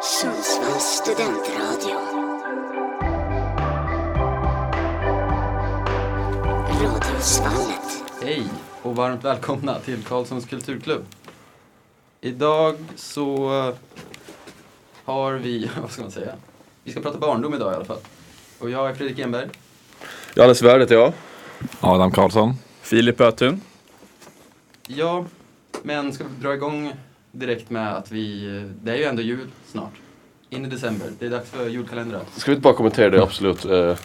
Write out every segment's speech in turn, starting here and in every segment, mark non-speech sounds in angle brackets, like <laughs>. Sundsvalls studentradio. Radiosvallet. Hej och varmt välkomna till Karlssons kulturklubb. Idag så har vi, <laughs> vad ska man säga? Vi ska prata barndom idag i alla fall. Och jag är Fredrik Enberg. Johannes Svärd heter jag. Adam Karlsson. Filip Ötun. Ja, men ska vi dra igång direkt med att vi, det är ju ändå jul snart. In i december, det är dags för julkalendrar. Ska vi inte bara kommentera det absolut? Eh,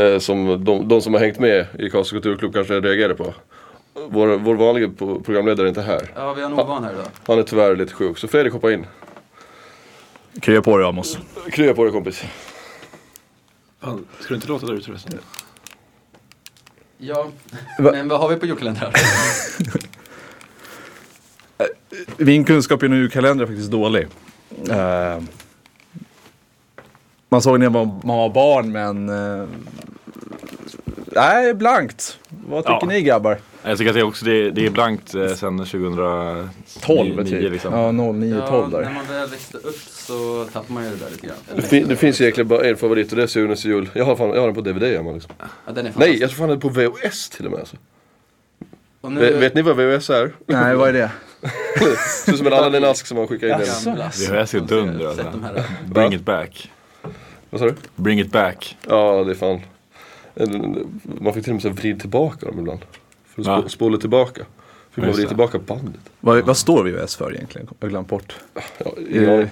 eh, som de, de som har hängt med i Karlsson Kulturklubb kanske reagerade på. Vår, vår vanliga po- programledare är inte här. Ja, vi har en ovan här idag. Han är tyvärr lite sjuk, så Fredrik hoppa in. Krya på dig Amos. Krya på dig kompis. Fan, ska du inte låta det ut förresten? Ja, Va- men vad har vi på <laughs> julkalendrar? Min kunskap inom julkalender är faktiskt dålig. Eh, man såg när man man var barn men... eh, nej, blankt. Vad tycker Ja. ni grabbar? Jag tycker att det är också det är, det är blankt eh, sen 2012 12 typ. liksom. Ja, 09, Ja, 12 när där. man väl växte upp så tappar man ju det där lite grann. Det, fin, det finns egentligen bara en favorit och det är Sunes jul. Jag har, fan, jag har den på DVD hemma liksom. Ja, den är fantastisk. Nej, jag tror fan den är på VHS till och med. Alltså. Och Ve- nu, Vet ni vad VHS är? <laughs> Nej, vad är det? Ser ut som en annan än ask som man skickar in den. Jaså? gamla. Det är ju dunder Sätt alltså. de här. Bring it back. Vad sa du? Bring it back. Ja, det är fan. En- Man fick till och med så här vrid tillbaka dem ibland. För att Va? spå- spola tillbaka. Fick man Just vrida det. tillbaka bandet. Vad, vad står VHS för egentligen? Jag har glömt bort. Ja, eh, ingen, aning.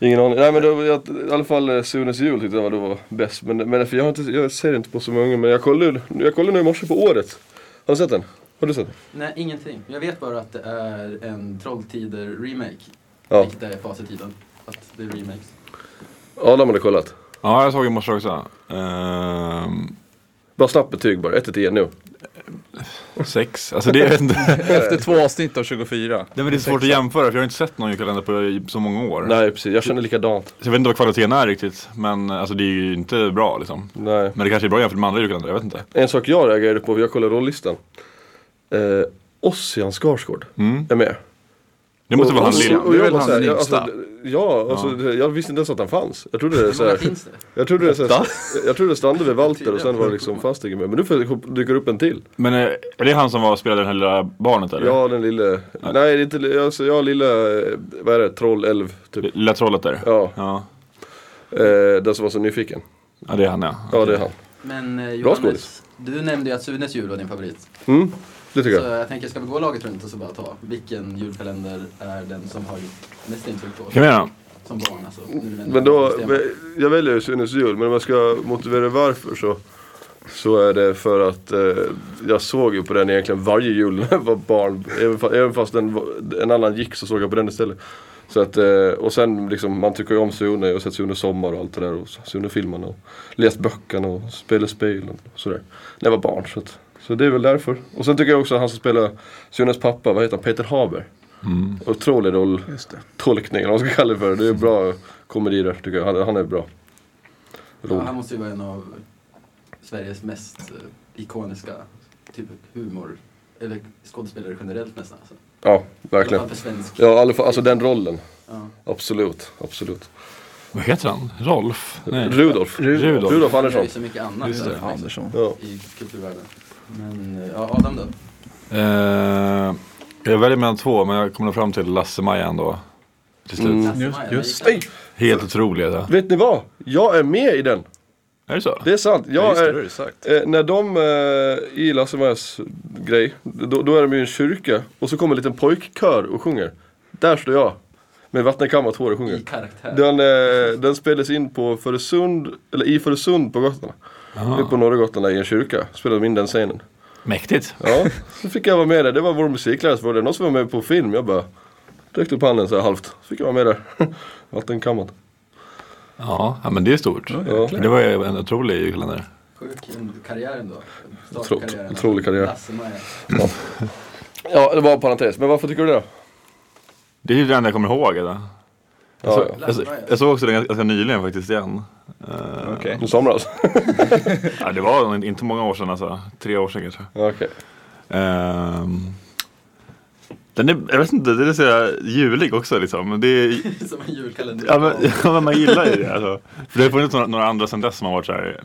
ingen aning. Nej men det var, jag, i alla fall eh, Sunes jul tyckte jag var, det var bäst. Men, men för jag, har inte, jag ser inte på så många men jag kollade, jag kollade nu i morse på året. Har du sett den? Har du sett den? Nej, ingenting. Jag vet bara att det är en Trolltider-remake. Ja. Vilket är facit i den. Att det är remakes. Adam hade kollat. Ja, jag såg i morse också. Ehm, Bara snabbt betyg bara, 1 till 10 nu. sex. Alltså det, jag vet inte. Efter två avsnitt av 24. Nej, men det är svårt att jämföra för jag har inte sett någon julkalender på i så många år. Nej precis, jag känner likadant. Så jag vet inte vad kvaliteten är riktigt. Men alltså det är ju inte bra liksom. Nej. Men det kanske är bra jämfört med andra julkalendrar, jag vet inte. En sak jag reagerade på, jag kollade rollistan. Eh, Ossian Skarsgård Mm. är med. Det måste vara han Och- lilla. och Det är jag väl bara han såhär, den jag- yngsta? alltså, Ja, alltså, det- jag visste inte ens att han fanns. Jag trodde det, Hur många såhär, finns det? jag trodde det, såhär, jag trodde det stannade vid Walter och sen var det liksom Fastingen med. Men nu får- dyker det upp en till. Men eh, är det han som var, spelade det här lilla barnet eller? Ja, den lille, nej, det är inte, li- alltså, jag lilla, eh, vad är det, trollälv typ. Lilla trollet där? Ja, Ja, eh, den som var så nyfiken. Ja, det är han ja. Ja, det är han. Men eh, skådis. Johannes, du nämnde ju att Sunes jul var din favorit. Mm, det tycker Så jag. jag tänker, ska vi gå laget runt och så bara ta vilken julkalender är den som har gjort mest intryck på oss? Kan vi göra? Som barn alltså. Nu när vi Men då, bestämmer. jag väljer ju Sunes jul, men om jag ska motivera varför så så är det för att eh, jag såg ju på den egentligen varje jul när jag var barn. Även fast, även fast den, var- en annan gick så såg jag på den istället. Så att, eh, och sen liksom, man tycker ju om Sune. Jag har sett Sune Sommar och allt det där. Och Sune-filmerna. Och läst böckerna och spelat spel och sådär. När jag var barn. Så, att, så det är väl därför. Och sen tycker jag också att han som spelar Sunes pappa, vad heter han? Peter Haber. Otrolig roll. Tolkning eller vad man ska kalla det för. Det är bra komedi där tycker jag. Han, han är bra. Ja, Rolig. han måste ju vara en av Sveriges mest eh, ikoniska typ humor, eller skådespelare generellt nästan. Alltså. Ja, I alla verkligen. fall för svensk. Ja, i alla fall, alltså den rollen. Ja. Absolut, absolut. Vad heter han? Rolf? Nej. Rudolf. Rudolf Rudolf. Han gör Andersson. ju så mycket annat Just det, där, liksom, Andersson. Ja. i kulturvärlden. Men eh, ja, Adam då? Eh, jag väljer mellan två men jag kommer nog fram till Lasse-Maja ändå. Till slut. Mm. Lasse Maja, just där gick Helt otrolig alltså. Vet ni vad? Jag är med i den. Är det så? Det är sant. Ja, Jag just det, det är, har du sagt. eh, när de eh, i Lasse Majas grej, då, då är de i en kyrka och så kommer en liten pojkkör och sjunger. Där står jag. Med vattenkammat hår och han. sjunger. I karaktär. Den, eh, den spelades in på Föresund, eller i Föresund på Gotland. Aha. Vi På norra Gotland där i en kyrka spelade de in den scenen. Mäktigt. Ja, så fick jag vara med där. Det var vår musiklärare som var det. Någon som var med på film. Jag bara räckte upp handen så här halvt. Så fick jag vara med där. <laughs> Vattenkammat. Ja, ja men det är stort. jäklar. det var ju en otrolig julkalender. Sjuk en karriär ändå. Start på Otro- karriären. otrolig karriär. Lasse Maja. <laughs> Ja, det var en parentes. Men varför tycker du det då? Det är ju det enda jag kommer ihåg. Alltså. Jag, Ja, såg, ja. jag, såg- jag såg också den ganska nyligen faktiskt igen. Eh, Okej. I somras? <laughs> ja, det var nog inte många år sedan alltså. Tre år sedan kanske. Okej. Ehm, Den är, jag vet inte, den är så jävla julig också liksom. Det är, Som en julkalender. ja, men, <laughs> ja, men man gillar ju det alltså. <laughs> För det har funnits några, några andra sedan dess som har varit så här,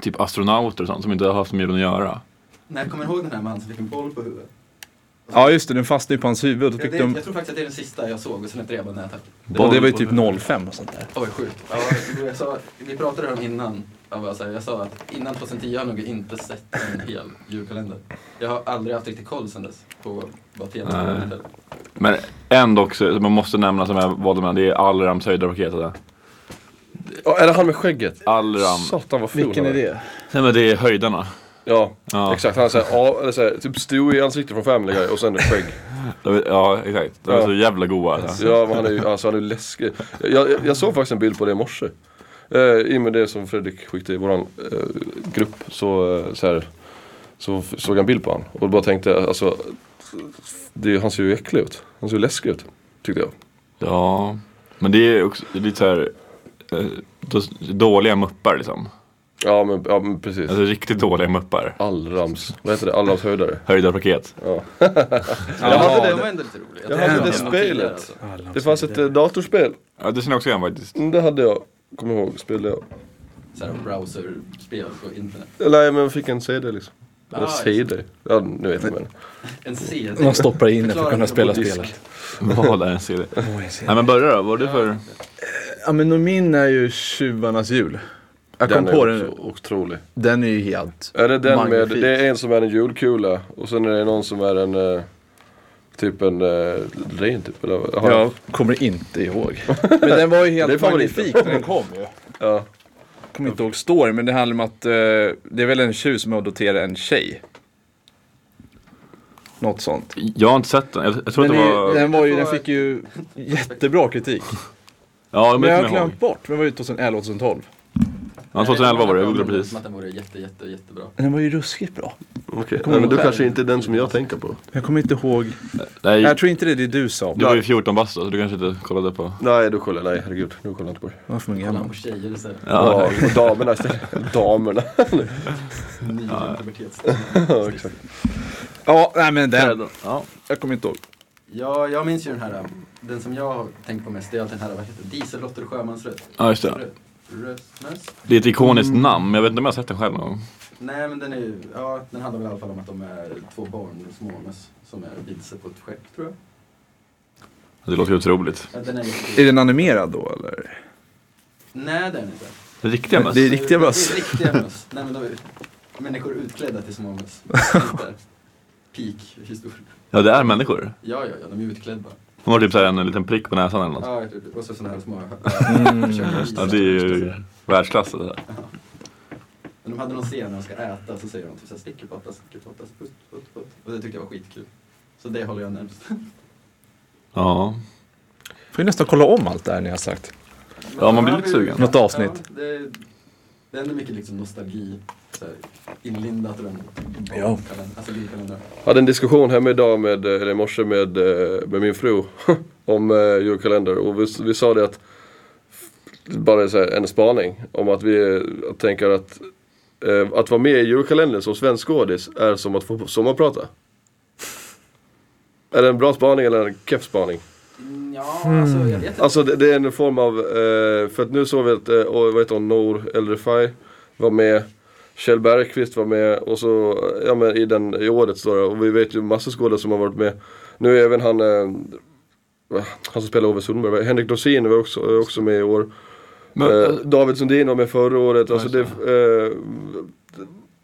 typ astronauter och sånt som inte har haft med julen att göra. Nej, jag kommer ihåg den här mannen som fick en boll på huvudet? Ja just det, den fastnade ju på hans huvud. Och Ja, fick det, de... jag tror faktiskt att det är den sista jag såg och sen inte jag bara nej tack. Och det var ju typ 05 och sånt där. Oj, sjukt. Ja, jag sa, vi pratade om innan. Jag, bara, så här, jag sa att innan 2010 har jag nog inte sett en hel julkalender. Jag har aldrig haft riktigt koll sen dess på vad temat Nej. var. Men ändå också, man måste nämna som jag vad de är, det är Allrams höjdarpaket. alltså. Ja, är det han med skägget? Allram. Satan vad ful han det? Nej men det är höjdarna. Ja, Ja. exakt. Han är såhär, ja, eller såhär, typ Stewie i ansiktet från Family Guy och sen skägg. De är- Ja exakt, de är Ja. så jävla goa. Alltså. Ja, men han är ju alltså, han är ju läskig. Jag, jag, jag såg faktiskt en bild på det i morse. Eh, I och med det som Fredrik skickade i våran eh, grupp så, eh, så, här, så f- såg jag en bild på han och bara tänkte alltså det, han ser ju äcklig ut. Han ser ju läskig ut. Tyckte jag. Ja, men det är också lite så här eh, då- dåliga muppar liksom. Ja men, ja, men precis. Alltså riktigt dåliga muppar. Allrams, vad heter det? Allrams höjdare. Höjdarpaket. Jag hade Den det. var ändå lite rolig. Jag hade tänkte på det den tidigare, spelet. alltså. Det fanns ett eh, datorspel. Ja det känner jag också igen faktiskt. <laughs> Mm, Det hade jag. Kommer ihåg, spelade jag. Så här browserspel på internet. Nej men jag fick en CD liksom. Eller Ah, just CD. Ja, nu vet jag vad jag menar. En CD. Man stoppar in den för att Förklara kunna inte spela på disk. spelet. Vad är en CD? Nej men börja då, vad är det för? Ja men och min är ju Tjuvarnas jul. Jag kom Den på är den också otrolig. Den är ju helt... Är det den med, Magnifik. det är en som är en julkula och sen är det någon som är en eh, typ en eh, ren typ eller vad? Har jag- Jag kommer inte <laughs> ihåg. Men den var ju Det är helt favoriten. magnifik när den kom ju. Ja. Kommer inte ihåg storyn men det handlar om att eh, det är väl en tjuv som adopterar en tjej. Något sånt. Jag har inte sett den. Jag, jag tror Den, att det är, var... den, var ju, Det den var- fick ju jättebra kritik. Ja, Men jag har kommer ihåg. glömt bort, den var ju 2011, 2012. Ja, 2011 var det, jag googlade precis. Som att den vore jätte, jätte, jättebra. Den var ju ruskigt bra. Okej, Mm. Kommer men ihåg du själv. kanske inte är den som jag tänker på. Jag kommer inte ihåg. Nej, Jag tror inte det är det du sa. du var ju 14 bast då, så du kanske inte kollade på... Nej, då kollar jag, nej herregud, nu kollar jag inte på det. Varför är man Kolla på gammal? tjejer så här. Ja, och damerna istället. <laughs> damerna. Ny <laughs> Ja, pubertetsstil. exakt. Ja, nej men den. Ja. Jag kommer inte ihåg. Ja, jag minns ju den här, den som jag har tänkt på mest, det är alltid den här, vad heter det? Diesellotter och sjömansröst. ja, just det. Rö- Röstnäs? Det är ett ikoniskt Mm. namn, men jag vet inte om jag har sett den själv någon gång. Nej men den är ju, ja den handlar väl i alla fall om att de är två barn, småmöss, som är vilse på ett skepp tror jag. Det låter ju otroligt. Ja, den är ju- Är den animerad då eller? Nej det är den inte. Riktiga möss. Det är riktiga möss. Det är riktiga möss. Nej men de är människor utklädda till <laughs> småmöss. Peak historia. Ja, det är människor. Ja, ja, ja, de är utklädda. De har typ så här en liten prick på näsan eller något. Ja, typ. och så sådana här små. Alltså. äh, <laughs> Mm. Ja, det är ju världsklass. det där. Men de hade någon scen när de ska äta så säger de typ såhär stickelpotta, stickelpotta, putt, putt, putt. Och det tyckte jag var skitkul. Så det håller jag närmst. Ja. Får ju nästan kolla om allt det här ni har sagt. <laughs> Ja, man blir lite sugen. Något avsnitt. Ja, det, är- det är ändå mycket liksom nostalgi. Så här, inlindat runt Ja. kalend- alltså julkalendrar. Jag hade en diskussion hemma idag med, eller i morse med, eh, med min fru <laughs> om eh, julkalender och vi, vi sa det att bara så här, en spaning om att vi eh, tänker att eh, att vara med i julkalendern som svensk skådis är som att få sommarprata. Är det en bra spaning eller en keff spaning? Mm, Ja, alltså jag vet inte. Alltså det, det är en form av, eh, för att nu såg vi att, eh, och, vad heter hon, Nour El Refai var med. Kjell Bergqvist var med och så, ja men i, den, i årets då, och vi vet ju massor skådespelare som har varit med. Nu är även han, eh, va, han som spelar Ove Sundberg, va? Henrik Dorsin var också, är också med i år. Men, eh, David Sundin var med förra året. Alltså, det, eh,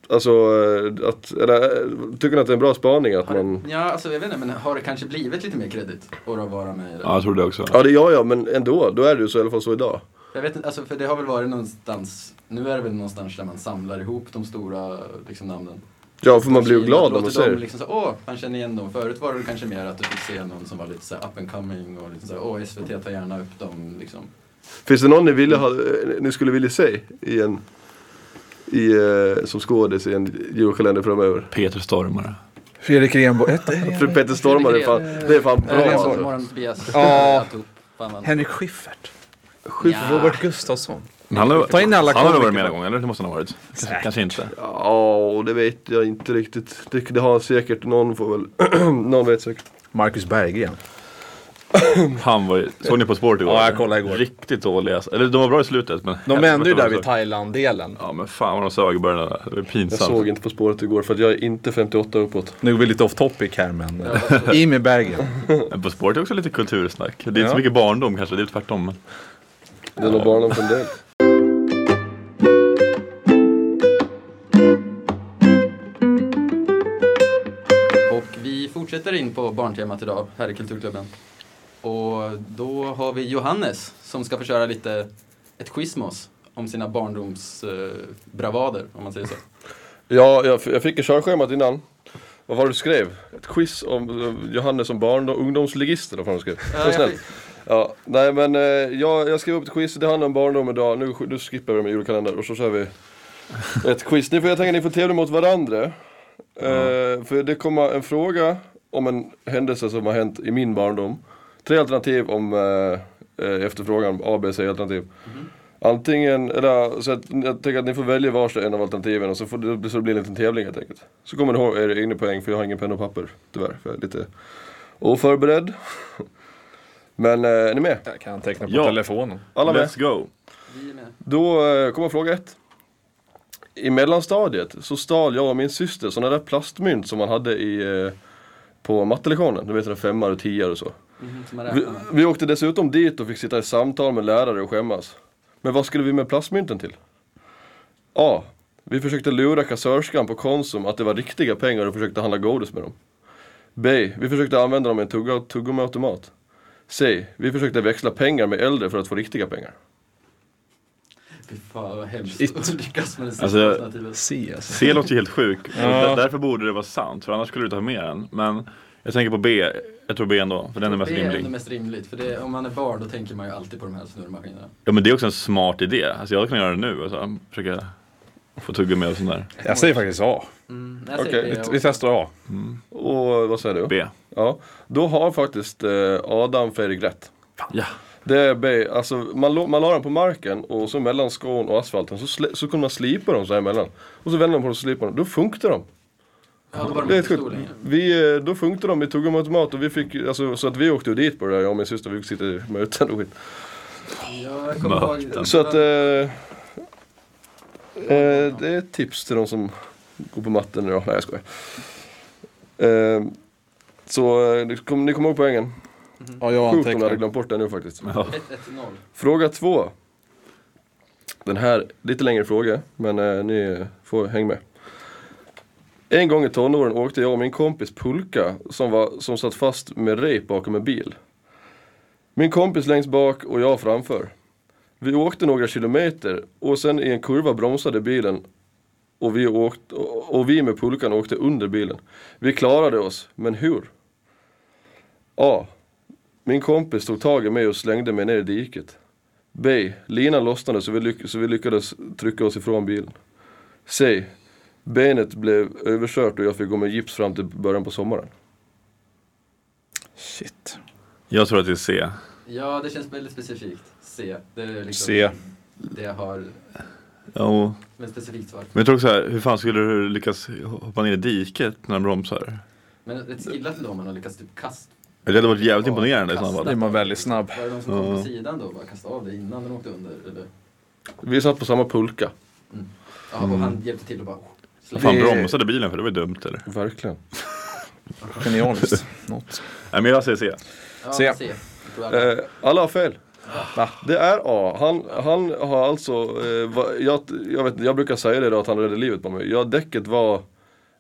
alltså eh, att, eller, eh, tycker ni att det är en bra spaning att Har man det, ja, alltså jag vet inte, men har det kanske blivit lite mer kredit för att vara med i det? Ja, jag tror det också. Ja det gör jag men ändå, då är det ju så i alla fall så idag. Jag vet inte, alltså för det har väl varit någonstans, nu är det väl någonstans där man samlar ihop de stora liksom, namnen. Ja för man blir ju Att glad när låter man ser dem det. liksom så, åh, man känner igen dem. Förut var det kanske mer att du fick se någon som var lite så här up and coming och lite så här, åh, SVT tar gärna upp dem liksom. Finns det någon ni, ville ha, eh, ni skulle vilja se i en, i, eh, som skådis i en julkalender framöver? Eh, Peter Stormare. Fredrik Renborg, hette För Peter Stormare, det är fan, det är fan bra Äh, alltså, alltså. morgon, Tobias. Ja. Alltihop. Fan, vad- Henrik Schiffert. Ja. Robert Gustafsson. Men Han har, Ta in alla han har väl komiker. varit med någon gång, eller? Det måste han ha varit. Kanske, Säkert. kanske inte. Ja, och det vet jag inte riktigt. Det, det har han säkert, <clears throat> någon får väl, någon vet säkert. Marcus Berggren. Han var ju, såg ni På spåret igår? Ja, jag kollade igår. Riktigt dåliga. alltså. Eller de var bra i slutet men... De vände ju där vid Helvete, Thailand-delen. Ja men fan vad de sög i början där. Det var pinsamt. Jag såg inte På spåret igår för att jag är inte 58 uppåt. Nu går vi lite off topic här men... eh, Jimmy Berggren. Men På spåret är också lite kultursnack. Det är inte Ja. så mycket barndom kanske, det är tvärtom. men- Det är nog barnen från det. Och vi fortsätter in på barntemat idag här i Kulturklubben. Och då har vi Johannes som ska få köra lite ett quiz med oss om sina barndomsbravader, om man säger så. <laughs> Ja, jag, f- jag fick ju körschemat innan. Vad var det du skrev? Ett quiz om eh, Johannes som barn, då, ungdomsligister då fan du skrev. Ja, Så jag snällt. fick- Ja, nej men eh, jag, jag skrev upp ett quiz, det handlar om barndom idag. Nu, sk- nu skippar vi det med julkalender och så kör vi ett quiz. Ni får, jag tänker ni får tävla mot varandra. Eh, för det kommer en fråga om en händelse som har hänt i min barndom. Tre alternativ om eh, eh, efterfrågan, A, B, C-alternativ. Antingen, eller så att, jag tänker att ni får välja varsin en av alternativen och så, får, det- så det blir det en liten tävling helt enkelt. Så kommer ni ihåg era egna poäng för jag har ingen penna och papper tyvärr. För jag är lite oförberedd. Men eh, är ni med? Jag kan teckna på Ja. telefonen. Alla med? Let's go! Vi är med. Då eh, kommer fråga ett. I mellanstadiet så stal jag och min syster sådana där plastmynt som man hade i, eh, på mattelektionen. Du vet den där femmar och tior och så. Mhm, som man Vi, räknar med. vi åkte dessutom dit och fick sitta i samtal med lärare och skämmas. Men vad skulle vi med plastmynten till? A. Vi försökte lura kassörskan på Konsum att det var riktiga pengar och försökte handla godis med dem. B. Vi försökte använda dem i en tugga- tuggummiautomat. C. Vi försökte växla pengar med äldre för att få riktiga pengar. Fy fan vad hemskt Shit. att lyckas med det sista Alltså, jag- alternativet. C alltså. C låter ju helt sjuk. Ja. Där- Därför borde det vara sant, för annars skulle du inte ha med den. Men jag tänker på B. Jag tror B ändå, för den är mest Det är ändå rimlig. mest rimligt, för det, om man är barn då tänker man ju alltid på de här snurrmaskinerna. Ja men det är också en smart idé. Alltså jag kan göra det nu. Alltså, försöka få tugga med och sånt där. Jag säger faktiskt A. Mm, jag säger det, Okej, Vi, jag vi också. testar A. Och vad säger du? B. Ja, då har faktiskt eh, Adam Fredrik rätt. Ja. Det är B, alltså man, lå- man la dem på marken och så mellan skon och asfalten så, sli- så kunde man slipa dem så här emellan. Och så vände man på dem och slipade dem, då funkade de. Ja, då var Det de inte är ett så sjukt. stor längre. Vi, eh, då funkade de, vi tog dem automat och vi fick, alltså, så att vi åkte ju dit på det där, jag och min syster, vi fick sitta i möten och skit. Jag kommer ihåg... Så att, eh, eh, det är ett tips till de som går på matten idag. Nej jag skojar. Eh, så eh, ni kommer ni kommer ihåg poängen? Mm. Ja, jag Sjukt om jag hade glömt bort det nu faktiskt. 1-1-0. Fråga två. Den här, lite längre fråga, men eh, ni eh, får häng med. En gång i tonåren åkte jag och min kompis pulka som, var, som satt fast med rep bakom en bil. Min kompis längst bak och jag framför. Vi åkte några kilometer och sen i en kurva bromsade bilen och vi, åkte, och vi med pulkan åkte under bilen. Vi klarade oss, men hur? A. Min kompis tog tag i mig och slängde mig ner i diket. B. Linan lossnade så vi, lyck- så vi lyckades trycka oss ifrån bilen. C. Benet blev överkört och jag fick gå med gips fram till början på sommaren. Shit. Jag tror att det är C. Ja, det känns väldigt specifikt. C. Det, är liksom, C. det har Jo. ett specifikt svar. Men jag tror också här, hur fan skulle du lyckas hoppa ner i diket när den bromsar? Men ett skillat ändå om man har lyckats typ kasta. Det hade varit jävligt Ja, imponerande i så Då är fall. man väldigt snabb. Var det de som kom på Ja. sidan då och bara kastade av det innan den åkte under? Eller? Vi satt på samma pulka. Ja, Mm. och han hjälpte till och bara... slängde. Fan Det- bromsade bilen för det var ju dumt eller? Verkligen. <laughs> Genialiskt. Något. Nej men jag säger C. Ja, C. C. Tror jag. Eh, alla har fel. Ah, Va? Det är A. Han, han har alltså, eh, va, jag, jag, vet, jag brukar säga det då att han räddade livet på mig. Jag, däcket var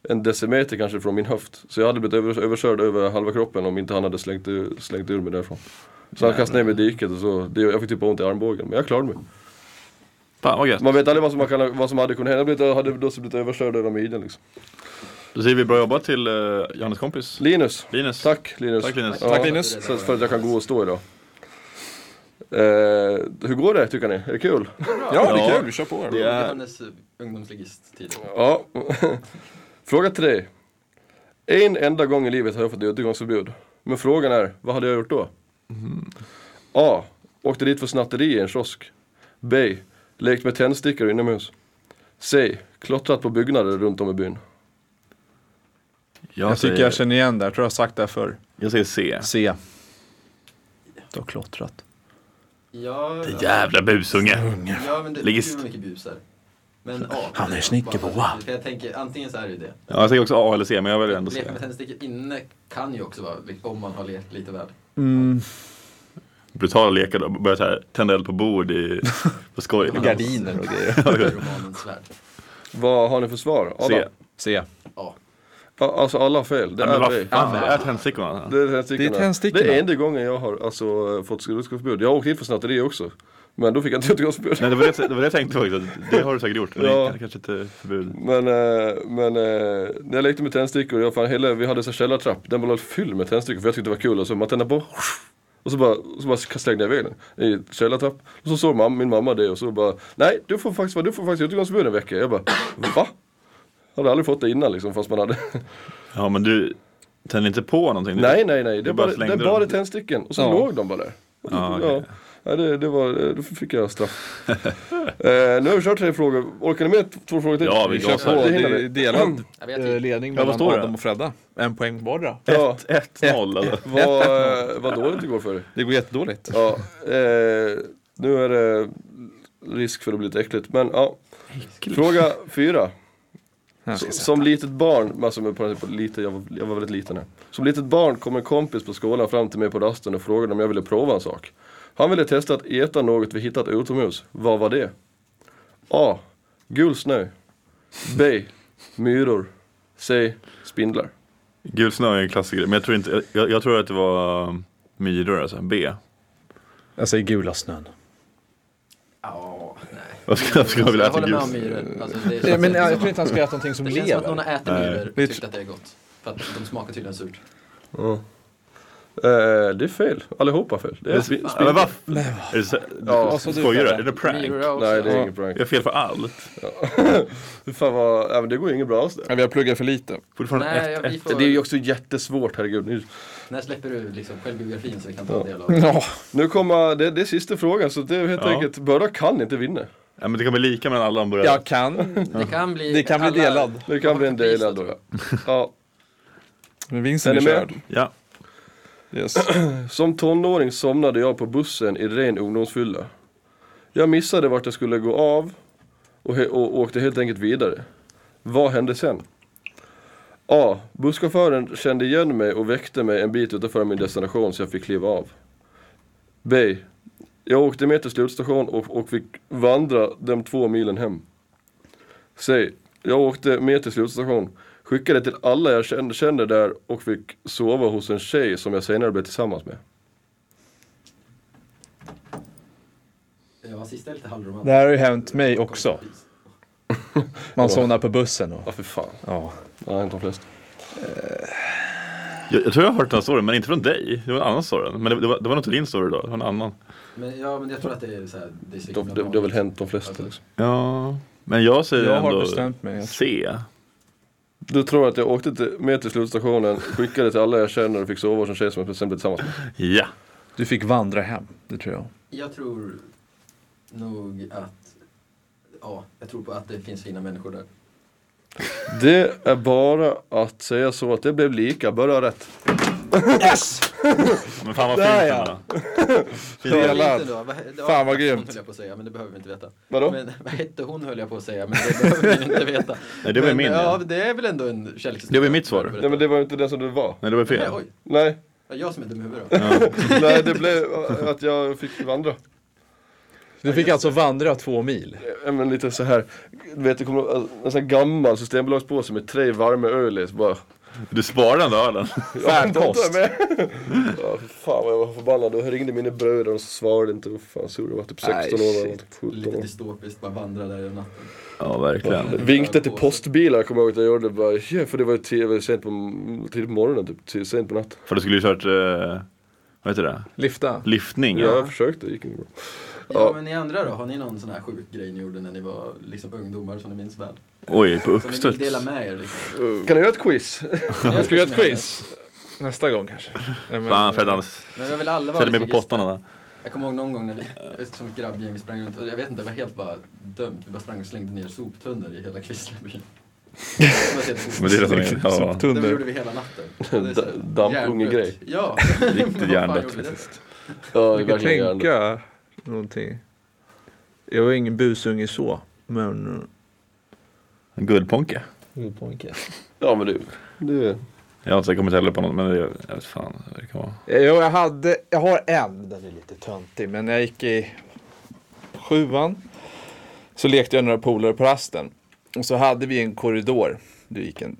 en decimeter kanske från min höft. Så jag hade blivit över, överkörd över halva kroppen om inte han hade slängt, ur- slängt ur mig därifrån. Så han kastade ner mig i diket och så, det, jag fick typ ont i armbågen. Men jag klarade mig. Fan vad gött. Man vet aldrig vad som, man kan, vad som hade kunnat hända. Jag blev- hade då blivit överkörd över midjan liksom. Då säger vi bra jobbat till eh, uh, Johannes kompis. Linus. Linus. Tack Linus. Tack Linus. Ja, Tack, Linus. så- För att jag kan gå och stå idag. Eh, hur går det tycker ni? Är det kul? Ja, det är kul. Kör på. Det är- Johannes eh, ungdomsligist-tid. Ja. <laughs> Fråga tre. En enda gång i livet har jag fått utegångsförbud. Men frågan är, vad hade jag gjort då? A. Åkte dit för snatteri i en kiosk. B. Lekt med tändstickor inomhus. C. Klottrat på byggnader runt om i byn. Jag, Jag säger, tycker jag känner igen det. Jag tror jag har sagt det här förr. jag säger C. C. Du har klottrat. Ja, Jävla busunge. ja men det, det Ligger är ju mycket bus här. Men A. Han är snickerboa. För jag tänker, antingen så är det ju det. Ja, jag säger också A eller C, men jag väljer ändå C. Leka med tändstickor inne kan ju också vara, om man har lekt lite väl. Brutala lekar då. Börjar så här, tända eld på bord i, på skoj. Gardiner och grejer. I <laughs> romanens svärd. Vad har ni för svar? Alla? C. C. A. Ja, Alltså alla har fel. Det Nej, men är vad vi. fan, det är tändstickorna. Det är tändstickorna. Det är tändstickorna. Det är enda gången jag har alltså, fått skrotskadeförbud. Jag har åkt in för snatteri också. Men då fick jag inte <laughs> skrotskadeförbud. Nej, det var det, det var det jag tänkte faktiskt. att Det har du säkert gjort. Men Ja. det är kanske inte förbud. Men, eh, men eh, när jag lekte med tändstickor, jag fan, hela, vi hade en källartrapp, den var helt fylld med tändstickor för jag tyckte det var kul. Och så man tände på, och så bara, så bara slängde jag iväg den i en källartrapp. Och så såg mam, min mamma det och så bara, nej du får faktiskt, vara- du får faktiskt utegångsförbud en vecka. Jag bara, va? Jag hade aldrig fått det innan liksom fast man hade Ja, men du tänder inte på någonting? Du- Nej nej nej, det du är bara, bara det är slängde bara dem. tändsticken och så Ja. låg de bara där. Ja, okej. Ja. Ja, det, det var, då fick jag straff. eh, nu har vi kört tre frågor, orkar ni med t- två frågor till? Ja, vi kör gasar. på. Det Det hinner är vi. delad Jag vet eh, ju. ledning Ja, vad mellan står det? Adam och Fredda. En poäng vardera. Ja, 1-0 alltså. <laughs> vad, eh, vad dåligt det går för dig. Det går jättedåligt. Ja, eh, nu är det risk för att bli lite äckligt, men ja. Fråga fyra. Jag ska S- se. Som litet barn, alltså med på, på lite, jag, var, jag var väldigt liten här. Som litet barn kom en kompis på skolan fram till mig på rasten och frågade om jag ville prova en sak. Han ville testa att äta något vi hittat utomhus. Vad var det? A. Gul snö. B. Myror. C. Spindlar. Gul snö är en klassiker, men jag tror, inte, jag, jag tror att det var um, myror alltså, B. Jag säger gula snön. Ja, nej. Vad ska, vad ska jag vilja jag äta håller gul med om snö? myror. Alltså, det Nej, känns men inte jag som tror att- inte han ska äta någonting som Det känns som att någon lever. har ätit Nej. myror och tyckt att det är gott. För att de smakar tydligen surt. Eh, det är fel. Allihopa fel. Det är Men spi- Men spindlar. vad? Är det så, Ja, du, så du skojar du? fattar. Är det prank? Myror är också. Nej, det är Ja. ingen prank. Jag är fel för allt. Fan vad, ja, men det går ju inget bra alls det. Ja, vi har pluggat för lite. Fortfarande Nej, ett, jag- vi ett. Det får... är ju också jättesvårt, herregud. Nu, När släpper du liksom självbiografin så vi kan ta del av den? Ja. nu kommer, det, det är sista frågan så det är helt Ja. enkelt, båda kan inte vinna. Ja, men det kan bli lika mellan alla om börjar. Jag kan. Det kan bli, Det kan bli alla- delad. Det kan bli en Pris, del ändå. tror ja. Ja. Men Är vinsten är ni med? körd. Ja. Yes. Som tonåring somnade jag på bussen i ren ungdomsfylla. Jag missade vart jag skulle gå av och, he- och åkte helt enkelt vidare. Vad hände sen? A. Busschauffören kände igen mig och väckte mig en bit utanför min destination så jag fick kliva av. B. Jag åkte med till slutstation och, och fick vandra de två milen hem. C. Jag åkte med till slutstation, skickade till alla jag kände, kände där och fick sova hos en tjej som jag senare blev tillsammans med. Ja, sista är lite halvromantisk. Det här har ju hänt mig också. <laughs> Man somnar på bussen och... Ja, för fan. Ja. Det har hänt de flesta. Jag, jag tror jag har hört den här storyn, men inte från dig. Det var en annan story. Men det, det, var, det var nog inte din story då, det var en annan. Men, ja, men jag tror att det är så här, det är De, det, det har väl hänt de flesta liksom. Ja, men jag säger Jag har ändå bestämt mig. C. Du tror att jag åkte till, med till slutstationen, skickade till alla jag känner och fick sova hos en tjej som jag sen blev tillsammans med. Ja. Du fick vandra hem, det tror jag. Jag tror nog att, ja, jag tror på att det finns fina människor där. Det är bara att säga så att det blev lika, börja rätt. Men fan vad Där, fint ja. ändå. Det Fint. Jävlar. är inte då. Vad- det var- Fan, vad hon grymt. höll jag på att säga, men det behöver vi inte veta. Vadå? Men, vad hette hon höll jag på att säga, men det behöver vi inte veta. <laughs> Nej, det var men, min, ja. ja. det är väl ändå en källkritik. Det var mitt svar. Nej men det var ju inte den som du var. Nej, det var fel. Nej, oj. Nej, Ja, Jag som är dum i huvudet då. nej det blev att jag fick vandra. Du fick alltså vandra två mil. Ja, men lite så här, du vet det kommer en sån här gammal systembolagspåse med tre varma öl i. så bara... Du sparade den där ölen. <laughs> Färdkost. Ja, fy fan vad jag var förbannad. Då ringde mina bröder och de svarade inte. Och fan, så jag var typ 16 Nej, år. eller shit. något, 17 Lite år. dystopiskt, bara vandra där i natten. Ja, verkligen. Vinkade till postbilar kommer jag ihåg att jag gjorde. Bara, yeah, för det var ju t- det var sent på, m- tidigt på morgonen, typ, till- sent på natten. För du skulle ju kört, eh, vad heter det? Lyfta. Lyftning. Ja. Jag försökte, det gick inte bra. Ja, men ni andra då? Har ni någon sån här sjuk grej ni gjorde när ni var liksom ungdomar som ni minns väl? Oj, på Som ni vill uppstuds. dela med er <laughs> liksom? Kan jag göra ett quiz? Jag Ska vi göra ett quiz? Nästa gång kanske. Nej, men- Fan Freddan, sätt Men vi har väl alla dig varit med på så pottarna där. Jag kommer ihåg någon gång när vi som ett <laughs> grabbgäng vi sprang runt och jag vet inte, det var helt bara dumt. Vi bara sprang och slängde ner soptunnor i hela Kvissleby. Som jag ser det. Men det är det som är, ja, Det Soptunnor. gjorde vi hela <laughs> natten. Det är så- D- dampungegrej. Ja. riktigt hjärndött faktiskt. Ja, det är Jag kan verkligen hjärndött. tänka någonting. Jag var ingen busunge så, men... En Guldponke. Ja men du, du Jag har inte kommit heller på något, men det, jag vet fan vad det kan vara. Jo, jag hade... Jag har en, den är lite töntig, men när jag gick i sjuan så lekte jag några polare på rasten. Och så hade vi en korridor. Du gick en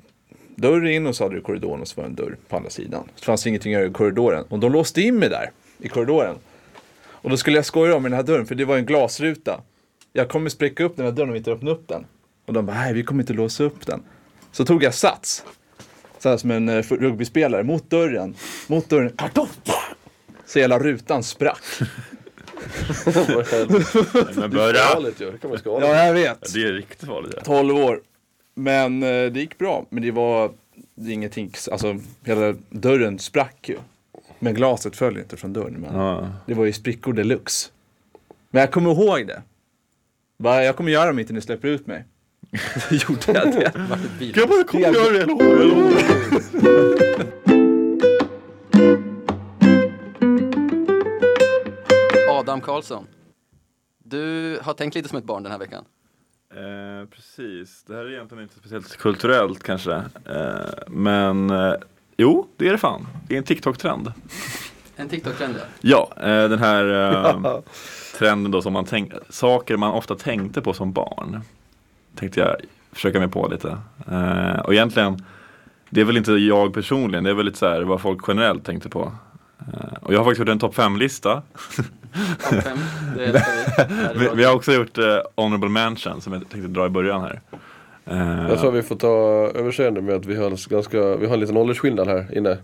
dörr in och så hade du korridoren och så var det en dörr på andra sidan. Så fanns det ingenting att göra i korridoren. Och de låste in mig där, i korridoren. Och då skulle jag skoja om den här dörren, för det var ju en glasruta. Jag kommer spricka upp den här dörren om vi inte öppnar upp den. Och de bara, nej vi kommer inte låsa upp den. Så tog jag sats. Så här som en eh, fu- rugbyspelare, mot dörren, mot dörren, kartoff! Så hela rutan sprack. var <laughs> helt Men galet ju. Det kan man skada. Ja, jag vet. Det är riktigt farligt. det. 12 år. Men eh, det gick bra. Men det var det är ingenting, alltså hela dörren sprack ju. Men glaset föll inte från dörren. Men Ja. Det var ju sprickor deluxe. Men jag kommer ihåg det. Bara, jag kommer göra dem inte ni släpper ut mig. Gjorde jag det? Vart ett bil. Grabbar kom och gör det, jag lovar, jag lovar. <laughs> Adam Karlsson. Du har tänkt lite som ett barn den här veckan. Eh, precis, det här är egentligen inte speciellt kulturellt kanske. Eh, men eh, jo, det är det fan. Det är en TikTok-trend. En TikTok-trend <laughs> ja. Ja, eh, den här eh, trenden då som man tänk, saker man ofta tänkte på som barn. Tänkte jag försöka mig på lite. Eh, och egentligen, det är väl inte jag personligen, det är väl lite så här vad folk generellt tänkte på. Eh, och jag har faktiskt gjort en topp 5-lista. Topp fem. Det älskar vi. Här Vi, är vi bra. har också gjort eh, Honorable Mansion som jag tänkte dra i början här. Eh, Jag tror vi får ta överseende med att vi har, ganska, vi har en liten åldersskillnad här inne.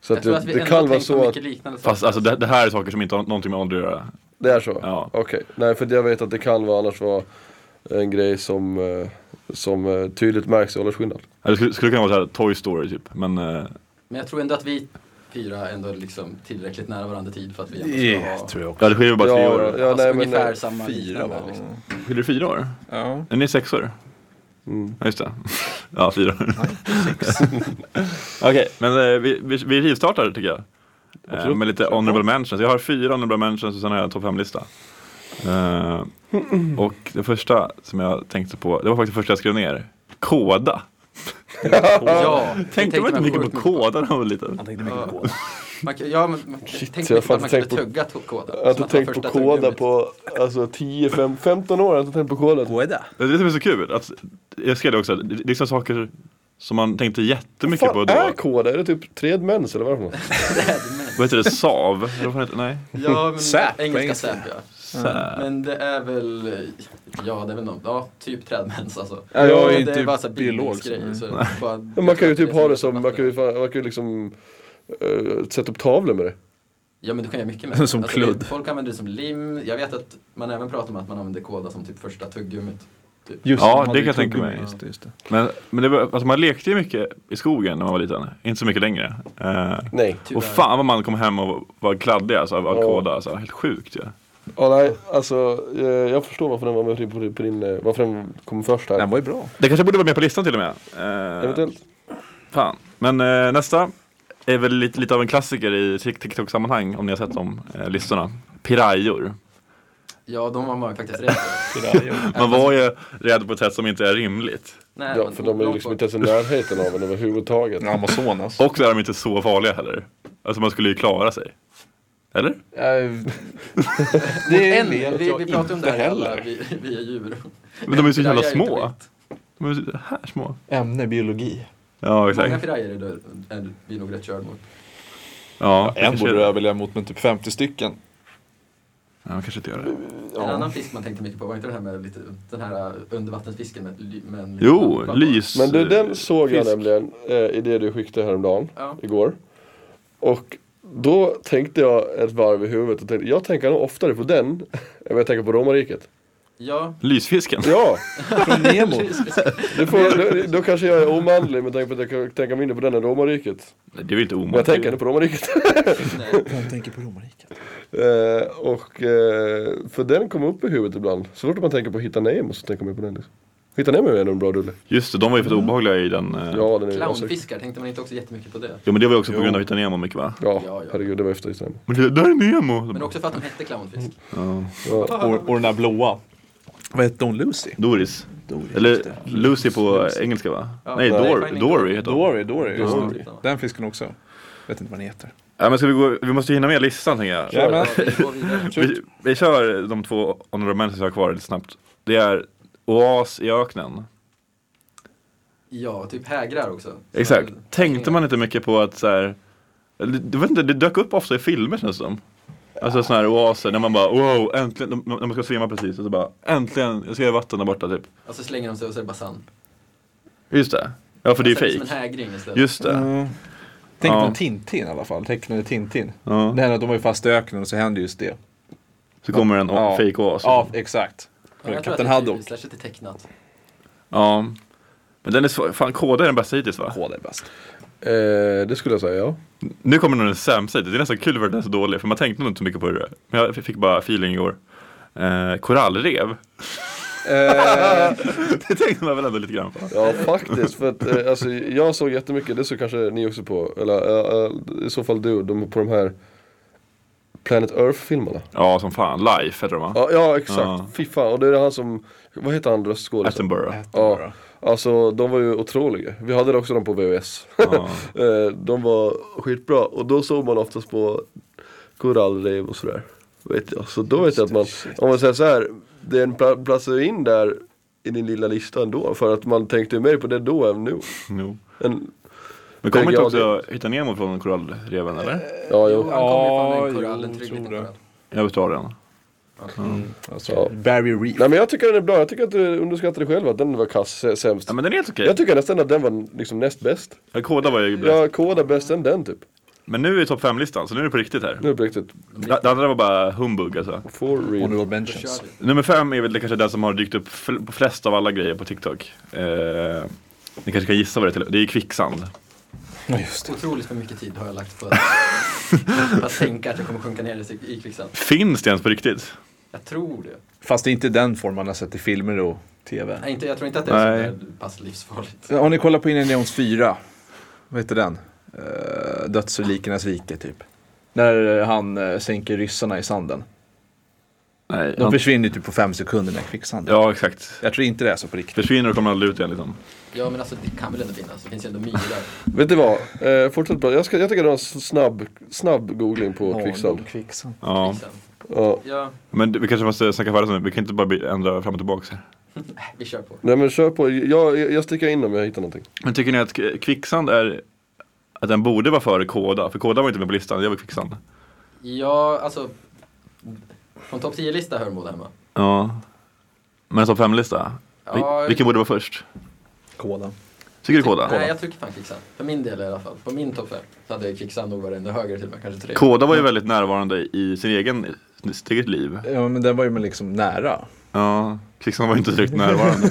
Så Jag att tror det, att vi det ändå kan har vara tänkt på så att mycket liknande Fast saker. alltså det, det här är saker som inte har någonting med ålder att göra. det är så. Ja. Okej, nej för jag vet att det kan vara annars vara en grej som, eh, som eh, tydligt märks i åldersskillnad. Eller Det skulle, skulle kunna vara så här Toy Story typ. Men eh, Men jag tror ändå att vi fyra ändå är liksom tillräckligt nära varandra i tid för att vi ändå ska ha tror jag också. Ja det skiljer bara tre Ja, år. ja. alltså, nej, men, ungefär eh, samma fyra, liknande, va? liksom. Skiljer det fyra år? Ja. Är ni sexor? Mm. Ja just det. <laughs> Ja fyra. <laughs> Okej, men eh, vi, vi, vi rivstartar tycker jag. Eh, Absolut. med lite honorable mentions. Jag har fyra honorable mentions och sen har jag en topp fem-lista. Eh, och det första som jag tänkte på, det var faktiskt det första jag skrev ner. Koda. Ja, det Tänkte man inte mycket på sjukt koda när man var liten? Man, kan- ja, men, man, Shit, tänkte mycket jag har på att fan man tänkt kunde tugga to- kåda. Jag har Som inte att ta tänkt på första koda tuggummit. på alltså 10, 5, 15 år. Jag har inte tänkt på koda. Båda. Det är det som är så kul. Att, jag skrev det också, det är liksom saker som man tänkte jättemycket på Fan, då. är koda? Är det typ tredmens eller vad är det för något? Vad heter det? Sav? Eller vad fan heter det? Nej. Ja, men Säp på engelska engelska. säp ja. Men det är väl, ja det är väl någon, ja typ trädmens alltså. Ja, jag är det inte bara så här biolog, bildningsgrej, så bara- Men man kan ju jag tror typ att det är ha det så som, man kan ju, fan- man kan ju liksom eh, sätta upp tavlor med det. Ja men du kan göra mycket med det. Som Alltså, kludd. det- Folk använder det som lim, jag vet att man även pratar om att man använder koda som typ första tuggummit. Typ. Just, Ja, de det hade kan ju jag tänka tuggummi. mig. Just det, just det. Men, men det var, alltså man lekte ju mycket i skogen när man var liten. Inte så mycket längre. Eh, Nej. och fan vad man kom hem och var kladdig alltså, av av kåda. Alltså, helt sjukt ju. Ja. Ja, nej, alltså eh, jag förstår varför den var med på, på din, eh, varför den kom först här. Den var ju bra. Det kanske borde vara med på listan till och med. Eh, Eventuellt. Fan. Men eh, nästa är väl lite, lite av en klassiker i Tik- TikTok-sammanhang om ni har sett de eh, listorna. Pirajor. Ja, de var man faktiskt rädd för. Man var ju rädd på ett sätt som inte är rimligt. Nej, Ja, men för de är ju långt liksom bort. inte ens i närheten av den överhuvudtaget. Amazonas. Och så är de inte så farliga heller. Alltså man skulle ju klara sig. Eller? <laughs> det En, vi, vi pratar om det här alla, vi, vi är djur. Men de är så jävla Pirayor är inte små. vilt. De är så här små. Ämne biologi. Ja, Många exakt. pirayor är död- är vi nog rätt körd mot. Ja, En kanske- borde du överleva mot, men typ 50 stycken. Ja, man kanske inte gör det. En annan fisk man tänkte mycket på, var inte det här med lite, den här äh, undervattensfisken med, ly- med en Jo, lampa på? lys. Men du, den såg jag Fisk. nämligen eh, i det du skickade häromdagen, Ja. igår. Och då tänkte jag ett varv i huvudet och tänkte, jag tänker nog oftare på den <laughs> än vad jag tänker på romarriket. Ja, Lysfisken. Ja, Från Nemo. det får, då, då kanske jag är omanlig med tanke på att jag kan tänka mindre på den än romarriket. Nej, Det är väl inte Men jag omöjligt. tänker ändå på romarriket. nej. Någon tänker på romarriket. Eh, och, eh, för den kom upp i huvudet ibland. Så fort man tänker på Hitta Nemo så tänker man på den. Liksom. Hittade ni med en bra rulle? Just det, de var ju för obehagliga i den. eh, Ja, den är ju asexig. Clownfiskar, tänkte man inte också jättemycket på det? Jo men det var ju också på Jo. grund av Hitta Nemo mycket va? Ja, Ja, ja. herregud, det var efter Hittade Nemo. Men det, där är Nemo! Men också för att de hette <laughs> clownfisk. Ja. Ja. Och, och den där blåa. Vad hette hon? Lucy? Doris. Doris. Eller Lucy på engelska va? Ja, Nej, nej, Dor- Finding Dory heter hon. Dory, Dory. just det. Den fisken också. Vet inte vad den heter. Ja, men ska vi, gå, vi måste ju hinna med listan tänker jag. Ja, men- Ja, vi går <laughs> vidare. Vi, vi kör de två honorable mentions jag har kvar lite snabbt. Det är Oas i öknen. Ja, typ hägrar också. Så- Exakt. Tänkte man inte mycket på att så här, eller, jag vet inte, det dök upp ofta i filmer känns det som. Alltså sådana här oaser när man bara wow, äntligen, när när man ska svimma precis och så bara äntligen, jag ser vatten där borta typ. Och så Alltså slänger de sig och så är det bara sand. Just det. Ja för det är ju Så Mm. Som en fejk. hägring istället. Just det. Tänk Ja. på Tintin i alla fall. Tecknade Tintin. Ja. Det händer att de var ju fast i öknen och så hände just det. Så kommer en Ja. ja. fake oas. Ja, exakt. Ja, jag tror att Kapten det är typiskt, Haddock. Särskilt i tecknat. Ja. Men den är svår. Fan KD är den bästa hittills va? Kod är bäst. Eh, det skulle jag säga, ja. Nu kommer nog den sämsta hittills. Det är nästan kul för att den är så dålig. För man tänkte nog inte så mycket på det. Men jag fick bara feeling igår. Eh, <laughs> korallrev. det tänkte man väl ändå lite grann på. Ja faktiskt, för att eh, alltså, jag såg jättemycket, det såg kanske ni också på, eller eh, eh, i så fall du, de, på de här Planet Earth-filmerna. Ja som fan. Life heter de va? Ja, ja exakt, Ja. fy fan. Och det är han som, vad heter han röstskådisen? Attenborough. Ja, alltså de var ju otroliga. Vi hade också dem på VHS. Ja. <laughs> Eh, de var skitbra och då såg man oftast på korallrev och sådär. Vet jag. Så då vet jag att man, om man säger så här, den pla- platsar ju in där i din lilla lista ändå för att man tänkte ju mer på det då än nu. Jo. En, Men kommer Tänker inte jag också Hitta Nemo från korallreven eller? Jo, ja, jo. han kommer ju från en Ja, korall, en jo, trygg tror liten det. korall. I Australien. Alltså, Ja. Barry Reef. Nej men jag tycker den är bra, jag tycker att du underskattade själv att den var kass, eh, sämst. Ja men den är helt okej. Jag tycker nästan att den var liksom näst bäst. Ja, Koda var ju bäst. Jag kodar bäst än den typ. Men nu är det topp 5-listan så nu är det på riktigt här. Nu är det på riktigt. Det det andra var bara humbug alltså. For real. Honorable Då mentions. kör vi. Nummer fem är väl kanske den som har dykt upp fl- på flest av alla grejer på TikTok. Eh, ni kanske kan gissa vad det är till. Det är ju kvicksand. Ja, just det. Otroligt för mycket tid har jag lagt på att, <laughs> att tänka att jag kommer sjunka ner i i kvicksand. Finns det ens på riktigt? Jag tror det. Fast det är inte den form man har sett i filmer och tv. Nej, inte, jag tror inte att det är Nej. så där pass livsfarligt. Har ni kollat på Indiana Jones 4? Vad heter den? Uh, Döds och likernas rike typ. När han eh, sänker ryssarna i sanden. Nej. De försvinner ju typ på fem sekunder när kvicksanden. Ja, exakt. Jag tror inte det är så på riktigt. Försvinner och kommer aldrig ut igen liksom. Ja, men alltså det kan väl ändå finnas. Det finns ju ändå myrar. Vet du vad? Eh, fortsätt bra. Jag, ska, jag tycker det var en s- snabb, snabb googling på kvicksand. kvicksand. Ja. Kvicksand. Ja. liksom. Ja, Men vi kanske måste snacka färdigt nu. Vi kan inte bara bli- ändra fram och tillbaka här. vi kör på. Nej men kör på, jag, jag sticker in om jag hittar någonting. Men tycker ni att k- kvicksand är att den borde vara före Koda? För Koda var inte med på listan, det var kvicksand. Ja, alltså. På en topp 10-lista hör Maud hemma. Ja. Men topp 5-lista? Ja, Vil- Vilken borde vara först? Koda. Tycker du Koda? Nej, jag tycker fan kvicksand. För min del i alla fall. På min topp 5 så hade kvicksand nog varit ännu högre till och med, kanske tre. Koda var ju väldigt närvarande i sin egen, sitt eget liv. Ja men den var ju men liksom nära. Ja, kvicksand var ju inte <laughs> direkt närvarande.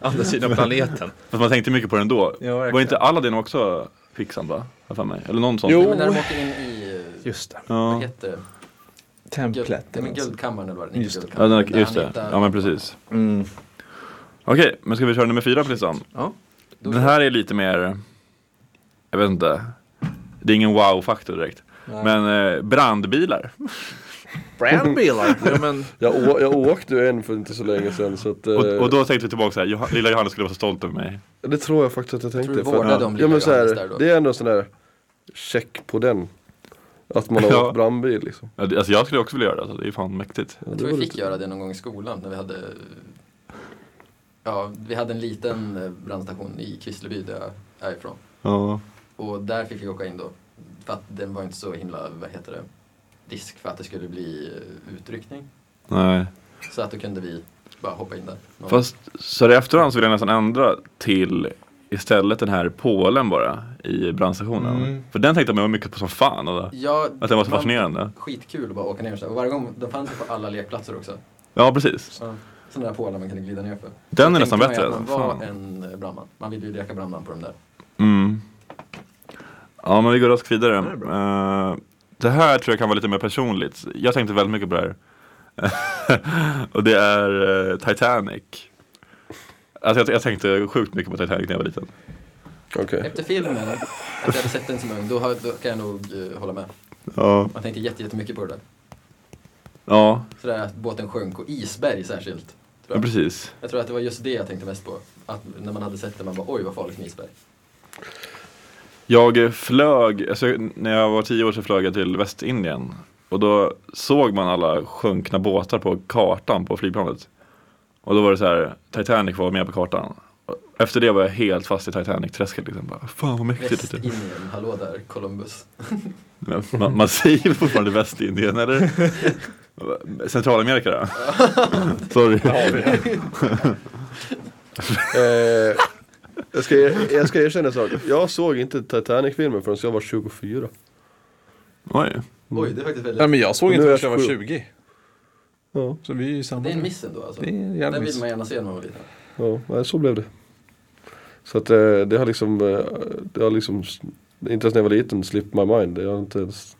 Andra sidan planeten. Fast man tänkte mycket på den då. Ja, verkligen. var inte Aladdin också kvicksand va? Har för mig. Eller någon sån. Nej, Jo. Men när de åker in i, Just det. Alltså. vad Ja. heter det? Guld, Templet. nej, men eller något. guldkammaren eller vad det är. Just det. Ja, den, Där just han det. hittar- Ja men precis. Mm. Okej, men ska vi köra nummer fyra på listan? Ja. Den här är lite mer, jag vet inte. Det är ingen wow-faktor direkt. Nej. Men eh, brandbilar. Brandbilar. <laughs> ja men. Jag, å, jag åkte ju en för inte så länge sedan så att, eh, Och, och då tänkte vi tillbaka så här, Johan, lilla Johannes skulle vara så stolt över mig. det tror jag faktiskt att jag Tror du tänkte. För, vårdade att- om ja men Lilla så här, Johannes där då? det är ändå en sån där check på den. Att man har <laughs> Ja. åkt brandbil liksom. Ja, det- Alltså jag skulle också vilja göra det, alltså, det är ju fan mäktigt. Ja, Jag det tror var vi fick lite- göra det någon gång i skolan när vi hade Ja, vi hade en liten eh, brandstation i Kvissleby där jag är ifrån. Ja. Och där fick vi åka in då. För att den var inte så himla, vad heter det, risk för att det skulle bli eh, utryckning. Nej. Så att då kunde vi bara hoppa in där. Någon- Fast så här i efterhand så vill jag nästan ändra till istället den här pålen bara i brandstationen. För den tänkte jag mig mycket på som fan. Och Ja, att den var så man- fascinerande. Skitkul att bara åka ner så här. Och varje gång, de fanns ju på alla lekplatser också. Ja precis. Sådana där pålar man kunde glida ner för. Den är Tänkte nästan man ju bättre. att Man var Fan. en eh, brandman. Man ville ju leka brandman på de där. Mm. Ja men vi går raskt vidare. Eh, det här tror jag kan vara lite mer personligt. Jag tänkte <laughs> väldigt mycket på det här. och det är eh, Titanic. Alltså jag, jag tänkte sjukt mycket på Titanic när jag var liten. Okej. Efter filmen, att jag hade sett den som ung, då, har- då kan jag nog eh, hålla med. Ja. Man tänkte jätte- jättemycket på det där. Ja, Sådär att båten sjönk, och isberg särskilt. ja precis. Jag tror att det var just det jag tänkte mest på. Att när man hade sett det, man bara oj vad farligt med <laughs> isberg. Jag eh, flög, alltså, när jag var tio år så flög jag till Västindien. Och då såg man alla sjunkna båtar på kartan på flygplanet. Och då var det så här, Titanic var med på kartan. Och efter det var jag helt fast i Titanic-träsket. Liksom. Bara, Fan vad mäktigt. det är." Västindien, hallå där, Columbus. Men Man, man säger väl fortfarande Västindien eller? <laughs> Centralamerika då? Sorry. Eh, jag, ska, er- jag ska erkänna en sak. Jag såg inte Titanic-filmen förrän jag var 24. Oj. Oj, det är faktiskt Nej Mm. väldigt... men jag såg Nu inte är förrän jag jag var sju. 20. Ja, Så vi är ju samma. Det är en miss ändå alltså. Det är en jävla Den vill miss. man gärna se när man var liten. ja nej, så blev det. Så att eh, det har liksom, eh, det har liksom, s- inte ens när jag var liten, slipped my mind. Jag har inte ens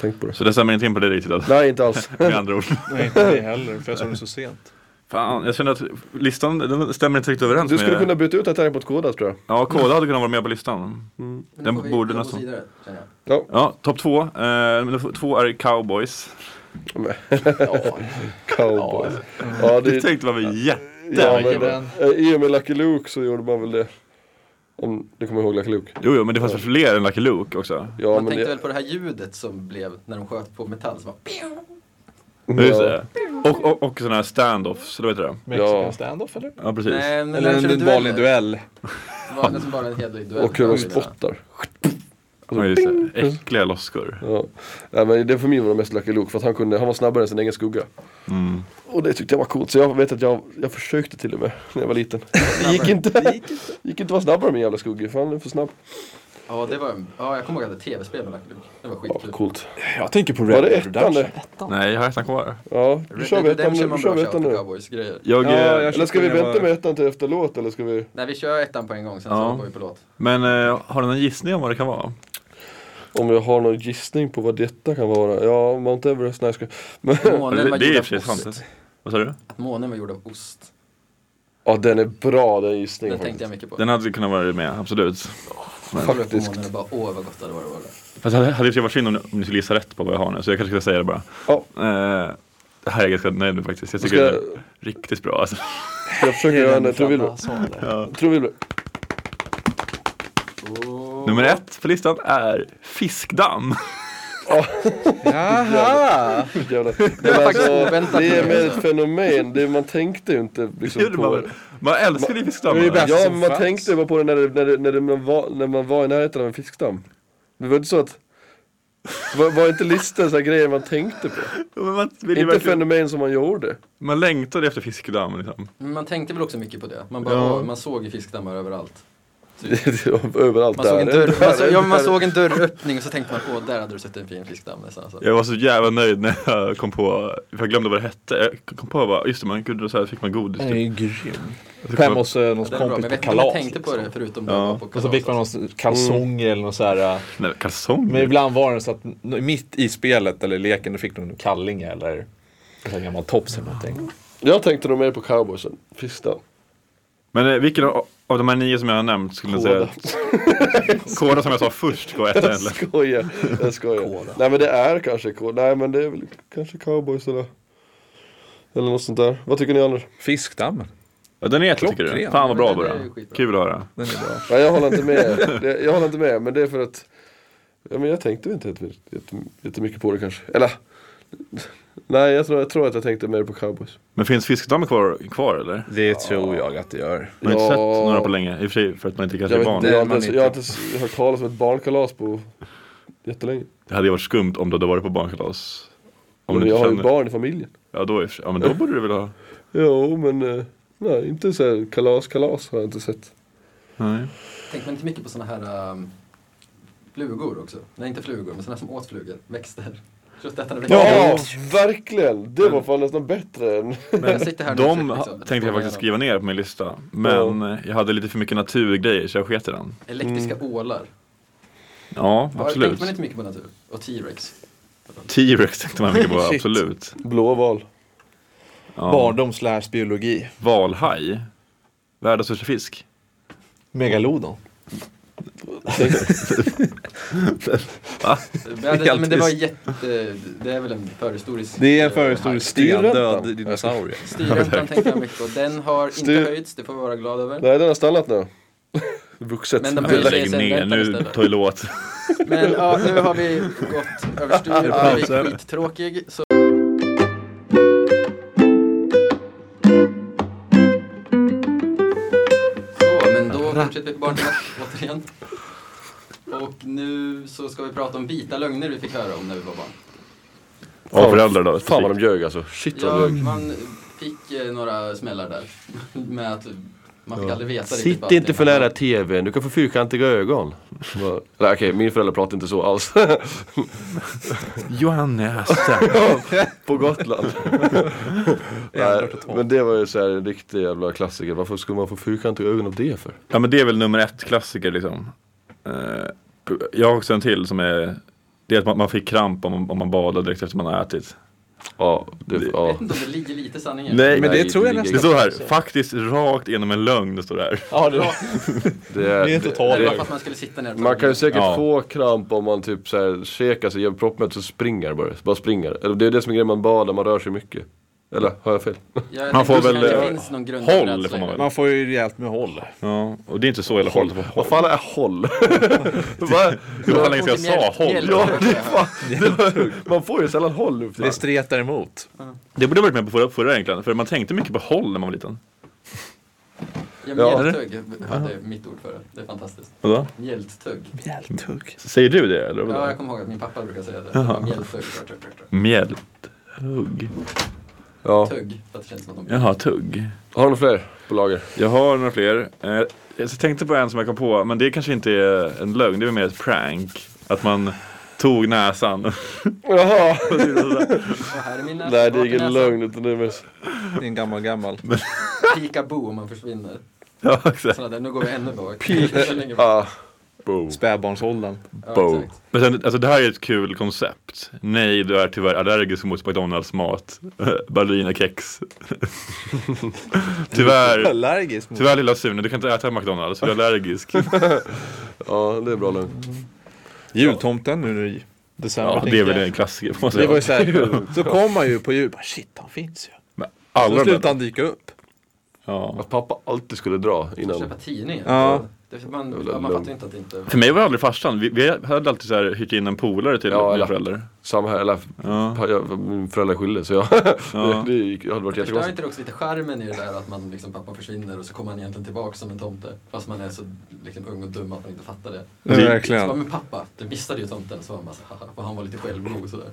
tänkt på det. Så det stämmer inte in på dig riktigt alltså, Nej, inte alls. med andra ord. Nej <laughs> inte det heller för jag såg den så sent. Fan, jag känner att listan den stämmer inte riktigt överens Du skulle med... kunna byta ut Titanic mot Koda tror jag. Ja, Koda hade kunnat vara med på listan. Men nu Den får vi borde gå nästan- vidare, känner jag. Ja, Ja, topp två. Eh, nummer f- två är Cowboys. <laughs> cowboys. Ja, Du det, tänkte vara vi jätte... ja, men, Jajamän. eh, I och med Lucky Luke så gjorde man väl det. Om du kommer ihåg Lucky Luke? Jo, jo, men det fanns väl fler än Lucky Luke också? Ja, man men tänkte det, väl på det här ljudet som blev när de sköt på metall. Som bara, Ja. Just Ja. det. Och, och, och sådana här stand-offs, eller vad heter det? Mexican Ja. standoff eller? Ja, precis. Nej, men Eller när de körde en dueller. vanlig duell. Det var nästan bara en hederlig duell. och hur de Ja, spottar. Ja, just Mm. det. Äckliga losskor. Ja. Nej, men det för mig var det mest Lucky Luke för att han, kunde, han var snabbare än sin egen skugga. Och det tyckte jag var coolt så jag vet att jag, jag försökte till och med <laughs> när jag var liten. Det gick inte. Det <laughs> gick inte att vara snabbare än min jävla skugga för han är för snabb. Ja, det var, ja, jag kommer ihåg att det tv-spel med Lucky Luke. Det var Ja, skitkul. coolt. Jag tänker på Var Red det Dead ettan Redemption. det? Nej, jag har ettan kvar. Ja, då Red kör Dead vi ettan nu. Redemption Då man kör bra vi ettan shout på nu. cowboys-grejer. Jag, Ja, eh, jag Eller ska vi tyckte det var- vänta med ettan till efter låt eller ska vi? Nej, vi kör ettan på en gång, sen Ja. så går vi på <laughs> låt. Men eh, har du någon gissning om vad det kan vara? Om jag har någon gissning på vad detta kan vara? Ja, Mount Everest, nej jag ska... Men, <laughs> Månen det var det är i och för gjord sig av ost. sant. Vad sa du? Att månen var gjord av ost. ja den är bra den gissningen Den tänkte jag faktiskt. mycket på. Den hade kunnat vara med, absolut. Jag kollade på faktiskt. månen och bara, åh vad gott det hade varit. att vara där." Fast det hade ju varit synd om ni- om ni skulle gissa rätt på vad jag har nu, så jag kanske ska säga det bara. Ja. Eh, det här är jag ganska nöjd med faktiskt. Jag tycker Ska- det är riktigt bra alltså. Ska jag försöker göra en truvilver? Truvilver. Nummer ett på listan är fiskdamm. Jaha! <laughs> Jävlar. Men faktiskt alltså, oväntat det är för mig, mer alltså. ett fenomen, det, man tänkte ju inte liksom <laughs> Gjorde man, på väl? man älskar ju fiskdamm. Det är ju bäst. Ja, som men man fanns. tänkte bara på det när, det, när, det, när, det, man var, när man var i närheten av en fiskdamm. Det var inte så att var, var inte listan så här grejer man tänkte på? Men man, vill ju Inte verkligen, fenomen som man gjorde. man längtar efter fiskdamm liksom. Men man tänkte väl också mycket på det. Man, bara, Ja. åh, man såg ju fiskdammar överallt. Det var Överallt Man såg, en där. Alltså, dörr, <laughs> Där, man, såg, ja, där. men man såg en dörröppning och så tänkte man, åh där hade du sett en fin fiskdamm nästan. Alltså. Jag var så jävla nöjd när jag kom på, för jag glömde vad det hette. Jag kom på bara, just det, man kunde så här fick man godis. Den är typ. ju grym. Jag fick Hem bara- hos eh, någons Det är bra, men kompis jag på vet inte om jag tänkte kalas. liksom. på det förutom när Ja. jag var på Och kalas. så fick man någon kalsonger eller något så här. eh, Nej, kalsonger? Men ibland var det så att n- mitt i spelet eller leken då fick de en kalling eller en sån här gammal tops eller någonting. Jag tänkte nog mer på cowboysen, fiskdamm. Men eh, vilken av av de här nio som jag har nämnt skulle ni säga? Koda. <laughs> Koda som jag sa först går etta Jag eller? skojar, jag skojar. Nej men det är kanske koda, nej men det är väl kanske cowboys eller eller något sånt där. Vad tycker ni andra? Fiskdammen. Ja, den är etta tycker du? Klockren. Fan vad bra Ja, men den är Burra. ju skitbra. Kul att höra. Den är bra. Nej jag håller inte med, det, jag håller inte med men det är för att ja, men jag tänkte väl inte jätte- jätte- jättemycket på det kanske. Eller nej jag tror, jag tror att jag tänkte mer på cowboys. Men finns fiskdammar kvar, kvar eller? Det tror jag att det gör. Man har Ja. inte sett några på länge, i och för sig för att man inte Jag, kanske är vet, barn. inte, jag, har Nej, man inte, ens- inte. jag har inte ens hört talas om ett barnkalas på jättelänge. Det hade ju varit skumt om du hade varit på barnkalas. Om Men du jag inte har ju känner... barn i familjen. Ja, då i och för sig. ja men då borde du väl ha? Jo men eh, nej inte så här kalas kalas har jag inte sett. Nej. Tänkte man inte mycket på såna här um, flugor också? Nej, inte flugor, men såna som åt flugor, växter. Köttätande växter. Ja, verkligen! Det var fan nästan bättre än... Jag sitter här nu och De försöker ha- liksom tänkte jag spåna faktiskt igenom. skriva ner på min lista. Men eh, jag hade lite för mycket naturgrejer så jag sket i den. Elektriska ålar. Ja, Har- Mm. absolut. Tänkte man inte mycket på natur? Och T-rex. T-rex tänkte man <laughs> mycket på, Shit. absolut. Blåval. Ja. Barndom slash biologi. Valhaj. Världens största fisk. Megalodon. Men det, Helt men det var tyst. jätte... Det är väl en förhistorisk... Det är en eh, förhistorisk haj. stendöd Stendöd dinosaurie. Styrräntan tänkte jag mycket på. Den har inte Styr- höjts, det får vi vara glada över. Nej, den har stannat nu. Vuxet. Men de Du, höjer Lägg sig ner, räntan nu istället. tar ju låt. <laughs> Men ja, nu har vi gått överstyr. Anna är skittråkig. Så... så, men då fortsätter vi på barntemat återigen. Och nu så ska vi prata om vita lögner vi fick höra om när vi var barn. Av föräldrar då. Fan vad de ljög alltså. Shit vad de Jag, ljög. man fick eh, några smällar där. <laughs> Med att man fick aldrig veta riktigt Sitt vad inte för allting nära TVn, du kan få fyrkantiga ögon. Bara, Nej okej, min förälder pratar inte så alls. <laughs> Johannes. På Gotland. Nej, men det var ju så här en riktig jävla klassiker. Varför skulle man få fyrkantiga ögon av det för? Ja men det är väl nummer ett klassiker liksom. Eh, Jag har också en till som är det är att man- man fick kramp om man, om man badade direkt efter man har ätit. Ja, det, Jag ja. vet inte om det ligger lite sanning i Nej, men det tror jag Det ligger- står här, faktiskt rakt genom en lögn, det står det här. Ja, det, <laughs> Det är, Det är det, en total- Det var det, för att man skulle sitta ner och ta man kan ju säkert Ja. få kramp om man typ så här käkar sig, ger proppmätt så springer bara. Bara springer. Eller det är det som är grejen, man badar, man rör sig mycket. Eller har jag fel? Jag Man får tänker väl, att Det eh, finns någon grund Håll får man väl. man får ju rejält med håll. Ja, och det är inte så hela håll. Det Vad fan är håll? <laughs> Vad- var länge sedan jag sa håll. ja, det är fan, det var, man får ju sällan håll nu för Det tiden. stretar emot. Det borde ha varit med på förra, förra egentligen, för man tänkte mycket på håll när man var liten. Ja, Ja. mjältugg hade mitt ord för det. Det är fantastiskt. Vadå? Mjälttugg. Mjältugg. Säger du det eller? Ja, vadå? jag kommer ihåg att min pappa brukar säga det. det. var Mjälttugg. Mjälthugg. Ja. Tugg. För att det känns som att de... Jaha, tugg. Har du fler på lager? Jag har några fler. Eh, jag tänkte på en som jag kom på, men det kanske inte är en lögn, det är väl mer ett prank. Att man tog näsan. Jaha! Och här är min näsa. Nej det är vart ingen näsan? lögn utan det är mest... Det är en gammal, gammal. Peekaboo om man försvinner. ja, exakt. Sådana där, nu går vi ännu bak. Längre bak. Ah. Boom. Spädbarnsåldern. Ja, exakt. Men sen, alltså det här är ett kul koncept. Nej, du är tyvärr allergisk mot McDonalds mat, <laughs> <laughs> berlinerkex. tyvärr, Allergisk mot. tyvärr lilla Sune, du kan inte äta McDonalds för du är allergisk. Ja det är bra lögn. Jultomten nu i december. Ja, tänker det är väl jag. en klassiker får man Det var ju säga. så, här, så kom man ju på jul, bara shit han finns ju. Men Så Alla de slutade där. han dyka upp. Ja. Att pappa alltid skulle dra innan. Köpa tidningar. Ja. Det, man, Jävla ja, man fattar lögn. ju inte att det inte... För mig var det aldrig farsan, vi, vi hade alltid så här, hyrt in en polare till Ja, mina eller- föräldrar. Samma här, eller Ja. pa- jag, min föräldrar skilde så jag... Ja. <laughs> det, det gick, hade varit Förstör jättekonstigt. inte det också lite charmen i det där att man liksom, pappa försvinner och så kommer han egentligen tillbaka som en tomte. Fast man är så liksom, ung och dum att man inte fattar det. Ja, Så bara, verkligen. men pappa, du missade ju tomten. Så var man så, haha, och han var lite självgod sådär.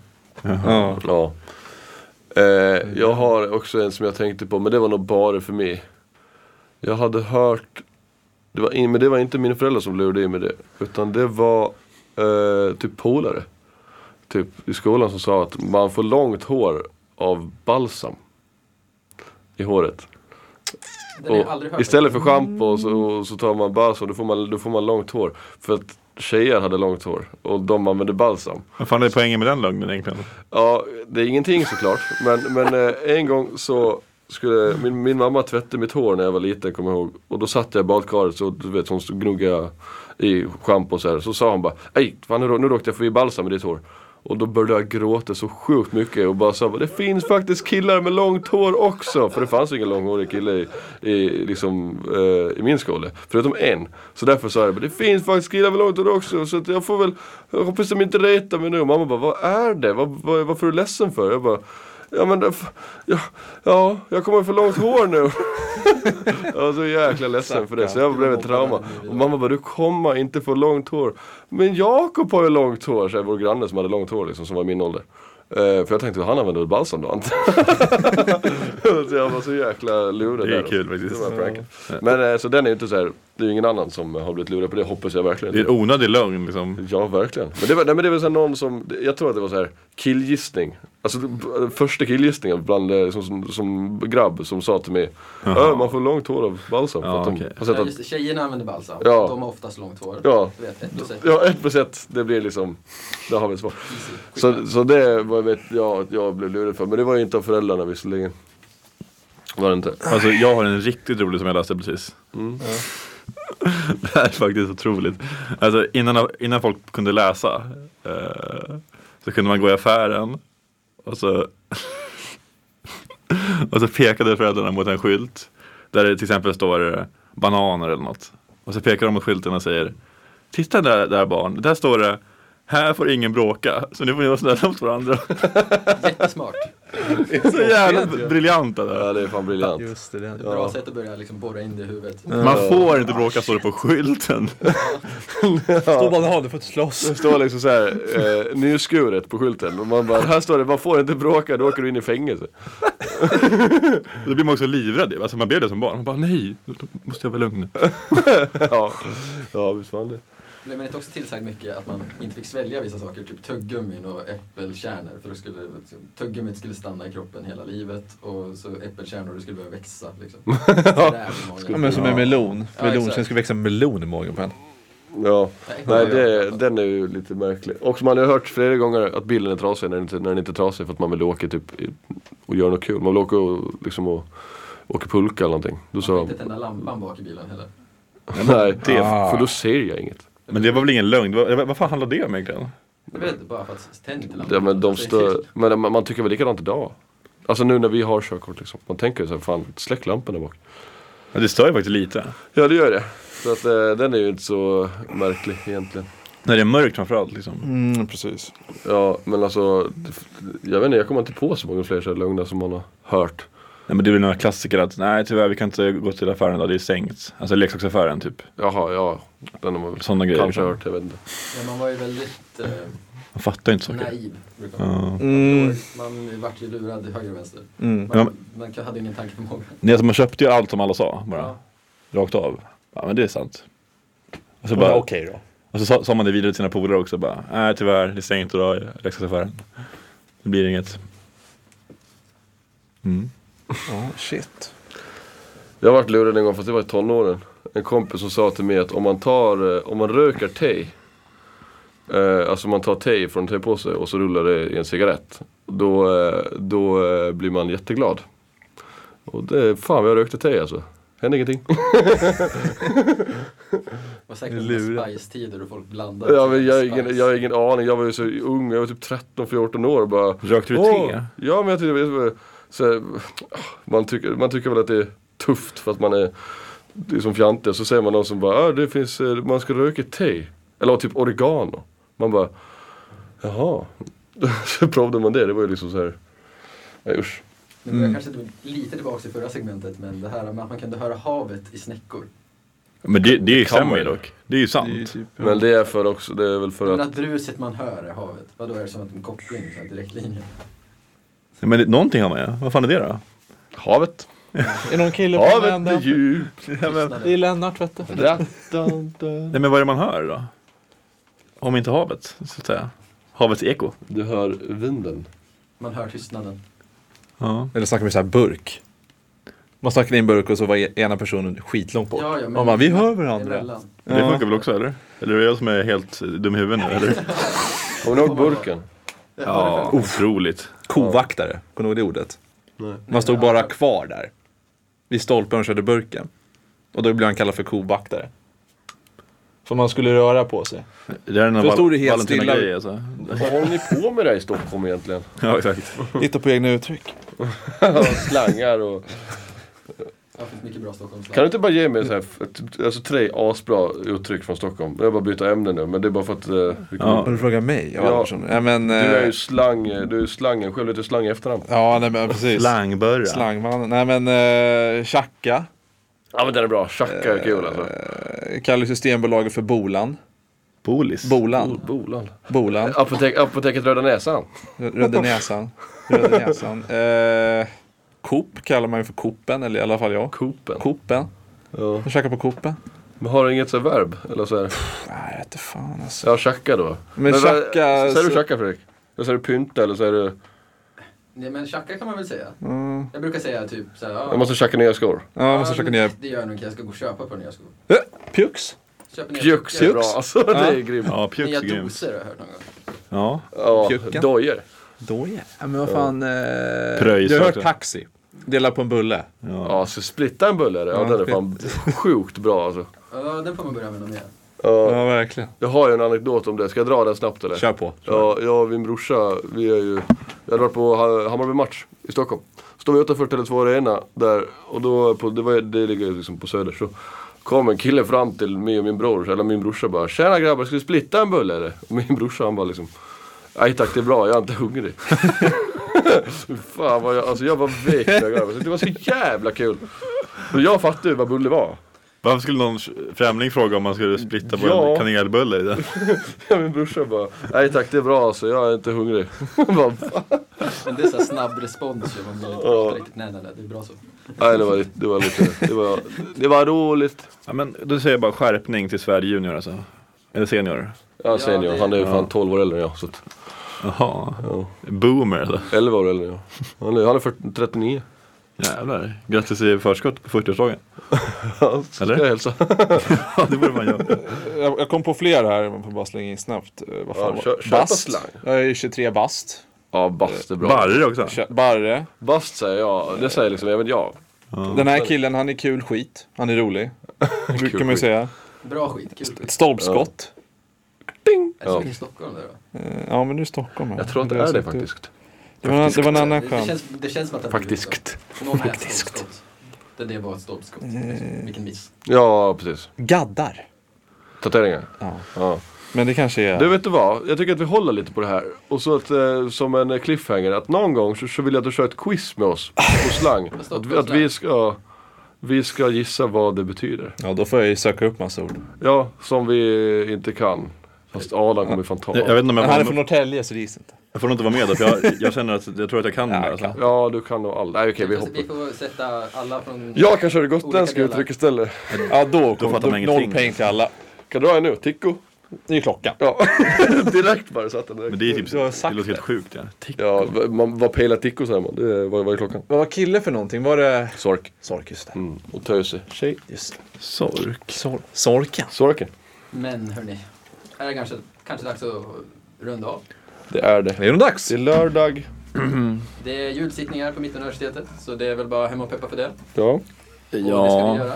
Ja. Ja. Eh, jag har också en som jag tänkte på men det var nog bara för mig. Jag hade hört, det var in, men det var inte mina föräldrar som lurade i mig det. Utan det var eh, typ polare. Typ i skolan som sa att man får långt hår av balsam. I håret. Den har jag aldrig Och hört. istället för schampo så, så tar man balsam, då får man, då får man långt hår. För att tjejer hade långt hår och de använde balsam. Vad fan är poängen med den lögnen egentligen? Ja, det är ingenting såklart. Men, men eh, en gång så skulle min, min mamma tvätta mitt hår när jag var liten, kommer jag ihåg. Och då satt jag i badkaret så du vet, hon stod och gnuggade i schampo och så här. Så sa hon bara Ej, fan nu, rå- nu råkade jag förbi balsam i ditt hår. Och då började jag gråta så sjukt mycket och bara sa det finns faktiskt killar med långt hår också. För det fanns ju ingen långhårig kille i, i, liksom, eh, i min skola. Förutom en. Så därför sa jag bara, det finns faktiskt killar med långt hår också. Så att jag får väl, jag hoppas de inte retar mig nu. Och mamma bara, vad är det? Vad, vad, varför är du ledsen för? Jag bara, ja men det, ja, ja, jag kommer för långt hår nu. Jag var så jäkla ledsen för det så jag blev ett trauma. Och mamma bara, du kommer inte få långt hår. Men Jakob har ju långt hår, så här, vår granne som hade långt hår liksom, som var i min ålder. Eh, för jag tänkte, han använder väl balsam då antar jag. <laughs> Så jag var så jäkla lurad Det är där. kul faktiskt. Det var pranken. Men eh, så den är ju inte så här, det är ju ingen annan som har blivit lurad på det hoppas jag verkligen. Det är en onödig lögn liksom. Ja, verkligen. Men det var, nej, men det var så här någon som, det- jag tror att det var så här killgissning. Alltså det- b- första killgissningen bland, eh, som, som, som grabb som sa till mig "Ö, man får långt hår av balsam. för Ja, att de okej. har sett Ja, att, just det, tjejerna använder balsam. Ja. De har oftast långt hår. Ja. Du vet, <laughs> ett och sex. ja, ett plus ett, det blir liksom, där har vi ett svar. Så, så det var vet jag att jag blev lurad för, men det var ju inte av föräldrarna visserligen. Var det inte? Alltså jag har en riktigt rolig som jag läste precis. <laughs> det här är faktiskt otroligt. Alltså innan, innan folk kunde läsa eh, så kunde man gå i affären och så, <laughs> och så pekade föräldrarna mot en skylt där det till exempel står eh, bananer eller något. Och så pekar de mot skylten och säger Titta där, där barn, där står det här får ingen bråka, så nu får ni vara snälla mot varandra. Jättesmart. Så jävla briljanta där. Ja det är fan briljant. Just det, den. Bra sätt att börja liksom borra in det i huvudet. Man får inte bråka står det på skylten. Står bara, "Jaha, du får inte slåss. Det står liksom såhär, eh, nyskuret på skylten och man bara, här står det, man får inte bråka, då åker du in i fängelse. Då blir man också livrädd. Alltså man blev det som barn. Man bara nej, då måste jag vara lugn. Ja, ja visst fan det. Blev man inte också tillsagd mycket att man inte fick svälja vissa saker, typ tuggummin och äppelkärnor? För då skulle, liksom, tuggummit skulle stanna i kroppen hela livet och så äppelkärnor, det skulle börja växa <laughs> liksom. Sådär i magen. Ja men som en melon. Ja, melon, exakt. sen ska växa en melon i magen på en. Ja, Nej, nej det gör det, jag. den är ju lite märklig. Och man har ju hört flera gånger att bilen är trasig när den inte, när den inte är trasig för att man vill åka typ i- och göra något kul. Man vill åka och liksom och åka pulka eller någonting. Då Man sa fick inte tända lampan bak i bilen heller. nej, det- för då ser jag inget. Men det var väl ingen lögn? Det var- Vad fan handlade det om egentligen? Jag vet inte, bara för att tänd inte lampan. Ja, men de Alltså, stör, men man, man tycker väl likadant idag. Alltså nu när vi har körkort liksom. Man tänker ju såhär, fan släck lampan där bak. Ja, det stör ju faktiskt lite. Ja det gör det. Så att eh, den är ju inte så märklig egentligen. När det är mörkt framförallt liksom. Mm, precis. Ja men alltså, jag vet inte, jag kommer inte på så många fler sådana lögner som man har hört. Nej, men det är väl några klassiker att nej tyvärr vi kan inte gå till affären idag, det är stängt. Alltså leksaksaffären typ. Jaha, ja. Den har man väl Sådana grejer. kanske Liksom. hört, jag vet inte. Men man var ju väldigt eh, Man fattar ju inte saker. naiv, brukar man Ja. Mm. Man vart ju lurad till höger och vänster. Mm. Man, man hade ingen tankeförmåga. Nej, alltså, man köpte ju allt som alla sa bara. Ja. Rakt av. Ja men det är sant. Och så, bara, Ja, Okej då. och så sa, sa man det vidare till sina polare också bara. Nej tyvärr det är stängt idag i leksaksaffären. Det blir inget. Mm. Ja, shit. Jag har varit lurad en gång, fast det var i tonåren. En kompis som sa till mig att om man tar, eh, om man röker te. Eh, alltså om man tar te från en tepåse och så rullar det i en cigarett. Då, eh, då eh, blir man jätteglad. Och det, fan vad jag rökte te alltså. Hände ingenting. Det var säkert några spice-tider och folk blandade. Ja, men jag, har Spice. ingen, jag har ingen aning, jag var ju så ung, jag var typ 13-14 år och bara Rökte du "Åh." te? Ja men jag tyckte, det var så här, man, tycker, man tycker väl att det är tufft för att man är liksom fjantig. Så säger man någon som bara, "Ah, det finns, eh, man ska röka te. Eller typ oregano. Man bara, jaha. <laughs> Så provade man det, det var ju liksom så här, nej usch. Nu går jag kanske till- lite tillbaka till förra segmentet, men det här med att man kunde höra havet i snäckor. Men det, det Kan man stämmer ju. ju dock. Det är ju typ- sant. typ- Men det är för också, det är väl för Men att att bruset man hör är havet, vadå är det som att en koppling, så här, direktlinje? Men det, någonting har man ju. Vad fan är det då? havet, Är någon kille på havet är Vända? djupt. Det är Lennart vet du. Nej men vad är det man hör då? Om inte havet, så att säga. Havets eko. Du hör vinden. Man hör tystnaden. Ja. Eller snackar vi så här burk. Man snackar i en burk och så var e- ena personen skitlångt bort. Ja, ja, men- Man bara, vi hör varandra. Emellan. Det funkar väl också eller? Eller är det jag som är helt eh, dum i huvudet nu eller? Kommer ni ihåg burken? <laughs> Ja, otroligt. Kovaktare, kommer du ihåg det ordet? Man stod bara kvar där. Vid stolpen och körde burken. Och då blev han kallad för kovaktare. För man skulle röra på <laughs> sig. Det här är en Då stod det helt stilla. Valentina-grej alltså. Vad håller ni på med där i Stockholm egentligen? <laughs> Ja exakt. Hitta på egna uttryck. Slangar och... Ja, det finns mycket bra Stockholmslag. Kan du inte bara ge mig så här, ett- alltså, tre asbra uttryck från Stockholm? Jag bara byta ämne nu, men det är bara för att... eh, vi kommer- Ja. Har du frågat mig? Ja, Ja. Andersson. Nej, men, Du är eh, ju slang, eh, du är slangen själv, du är slang i efterhand. ja, nej, men precis. Slangbörja. Slangmannen. Nej men, eh, tjacka. Ja men den är bra, tjacka är kul alltså. Eh, Kallar Systembolaget för Bolan. Bolis. Oh, Bolan. Bolan. Bolan. Apotek, apoteket Röda Näsan. Röda näsan. Röda näsan. Eh, Coop kallar man ju för Coopen, eller i alla fall jag. Coopen. Coopen. Ja. Jag käkar på Coopen. Men har du inget så här verb? Eller så här. Nej, jag vete fan alltså. Ja, tjacka då. Men vad- tjacka- Säger du så- tjacka Fredrik? Eller säger du pynta eller säger du... Nej men tjacka kan man väl säga. Jag brukar säga typ såhär, ja, Jag måste tjacka nya skor. Ja, jag måste käka ner. Det gör jag nog inte, jag ska gå och köpa på nya skor. Eh, Pjux. Köpa nya Pjux är sockor. bra <laughs> alltså, det är grymt. Ja, pjuck Nya är grymt. doser har jag hört någon gång. Ja. Ja, Pjucken. dojer. Då ja. Men vad fan. Eh, Pröjs du har hört också. taxi. Dela på en bulle. Ja, så splitta en bulle är det. Ja, Ja, den är fan sjukt bra alltså. Ja, den får man börja använda mer. Ja, Ja, verkligen. jag har ju en anekdot om det. Ska jag dra den snabbt eller? Kör på. Ja, jag och min brorsa, vi är ju... Vi hade varit på Ha- Hammarby match i Stockholm. Står vi utanför Tele2 Arena där, och då, på, det, var, ju- det ligger ju liksom på Söder, så kom en kille fram till mig och min bror, eller min brorsa bara “Tjena grabbar, ska vi splitta en bulle eller?” Och min brorsa han bara liksom “Nej tack, det är bra, jag är inte hungrig”. <laughs> Fan vad jag, alltså jag var vek när jag grabbar, så det var så jävla kul. Och jag fattade ju vad bulle var. Varför skulle någon främling fråga om man skulle splitta på Ja. en kanelbulle i den? Ja, min brorsa bara “Nej tack, det är bra alltså, jag är inte hungrig”. <laughs> Jag bara, Men det är så här snabb respons ju. Man blir Ja. inte riktigt, nej, nej, nej, det är bra så. Nej, det var, lite- det var lite, det var, det var roligt. Ja, men då säger jag bara skärpning till Sverige Junior alltså. Eller senior. Ja, senior. det- Han är ju ja. fan 12 år äldre än jag. Så att, Jaha. ja. Boomer alltså. eller? 11 år äldre än jag. Han är, han är 40, 39. Jävlar. Grattis i förskott på 40-årsdagen. Ja, så Eller? Ska jag hälsa? Ja, det borde man göra. Jag, jag kom på fler här, man får bara slänga in snabbt. Eh, Vad Ja, fan kör- var kör på Bast. slang. Jag är 23 bast. Ja, bast är bra. Barre också. Kö- Barre. Bast säger jag. Det säger liksom även jag. Den här killen, han är kul skit. Han <laughs> är rolig. Brukar man ju skit. säga. Bra skit, kul skit. Ett stolpskott. Är det Ja. så mycket i Stockholm där då? Eh, Ja, men nu är Stockholm här. Jag tror att det har är det sagt faktiskt. Det var, en- det var en Det, annan det, skön. känns, det känns som att det Faktiskt. Någon är ett stolpskott. Det, det var ett stolpskott. Liksom. Vilken miss. Ja, precis. Gaddar. Tatueringar. Ja. Ja. Men det kanske är... Du, vet du vad? Jag tycker att vi håller lite på det här. Och så att, eh, som en cliffhanger, att någon gång så, så vill jag att du kör ett quiz med oss på slang. Att, vi- att vi ska... Vi ska gissa vad det betyder. Ja, då får jag ju söka upp massa ord. Ja, som vi inte kan. Fast Adam kommer fan ta. Jag, jag vet inte om Han är jag från får, Norrtälje, så det gissar inte. jag får nog inte vara med där, för jag, jag känner att jag tror att jag kan det här, alltså. Ja, du kan nog allt. Nej, okej, vi Så hoppar. Alltså, vi får sätta alla från... Jag kan köra det Olika gotländska delar. uttryck istället. Ja, då kom då, fattar man noll ingenting. poäng till alla. Kan du dra en nu? Tico? Det är ju klockan. Ja, <laughs> direkt bara satt den direkt. Men det är typ, Du har sagt det låter helt sjukt. Ja. Tick. Ja, v- man, vad pejlar Tico säger man? Det är, vad, vad är klockan? Vad var kille för någonting? Var det... Sork. Sork, just det. Mm. Och töse. Tjej. Just det. Sork. Sor- Sorken. Sorken. Men hörni, är det kanske, kanske dags att runda av. Det är det. Det är nog dags. Det är lördag. Det är julsittningar på Mittuniversitetet, så det är väl bara hem och peppa för det. Ja. Och det ska vi Ja. göra.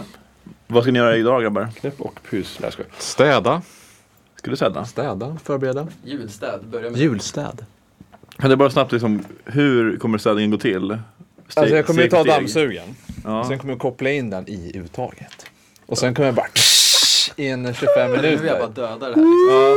Vad ska ni göra idag grabbar? Knäpp och pys. Nej, jag skojar. Städa. Ska du sätta? Städa. Förbereda. Julstäd, börja med. Julstäd. Kan du bara snabbt liksom, hur kommer städningen gå till? Steg- Alltså jag kommer ju ta steg för steg. dammsugaren. Ja. Sen kommer jag koppla in den i uttaget. Och sen kommer jag bara... <laughs> In 25 Nu vill jag bara minuter. döda det här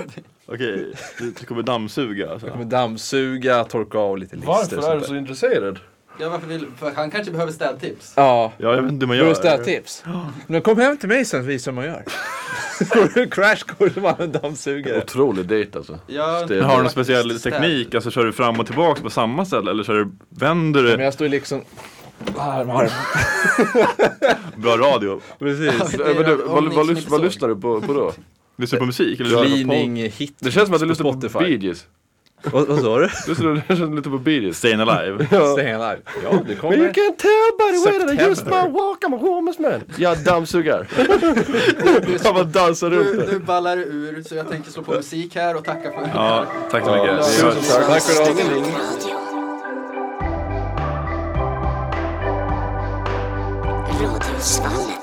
liksom. Okej, du, du kommer dammsuga alltså. Jag kommer dammsuga, torka av lite lister. och sånt Varför är du där. så intresserad? Ja, varför vill, för han kanske behöver städtips. Ja. Ja, jag vet inte hur man Gör gör. du städtips? Men kom hem till mig sen så visar jag hur man gör. <laughs> Crashkurs med en dammsugare. Otrolig dejt alltså. Ja, Städ. Men Har du någon faktiskt speciell städ. teknik? Alltså kör du fram och tillbaka på samma ställe eller kör du, vänder Men du? jag står ju liksom... Varm, varm. Bra radio. Precis. Det är Äh, men du, vad, vad, lys- vad omniksnipsåg. lyssnar du på, på <laughs> då? Lyssnar du på musik? Eller? Ja. Cleaning hit. Det känns som att du På lyssnar på Spotify. Bee Gees. Vad vad sa du? Lyssnar du- <laughs> Det känns lite på Bee Gees. Stayin' <laughs> Alive? Stenar. Ja, det But you kommer. can tell by the way that I use September. my walk, I'm a woman's man. Jag <laughs> dammsugar. Han bara dansar runt Nu, där. nu ballar det ur, så jag tänker slå på musik här och tacka för Ja, tack så mycket. Vi hörs. Tack för att du har ringt. Radiostudentradio. Radhusvallen.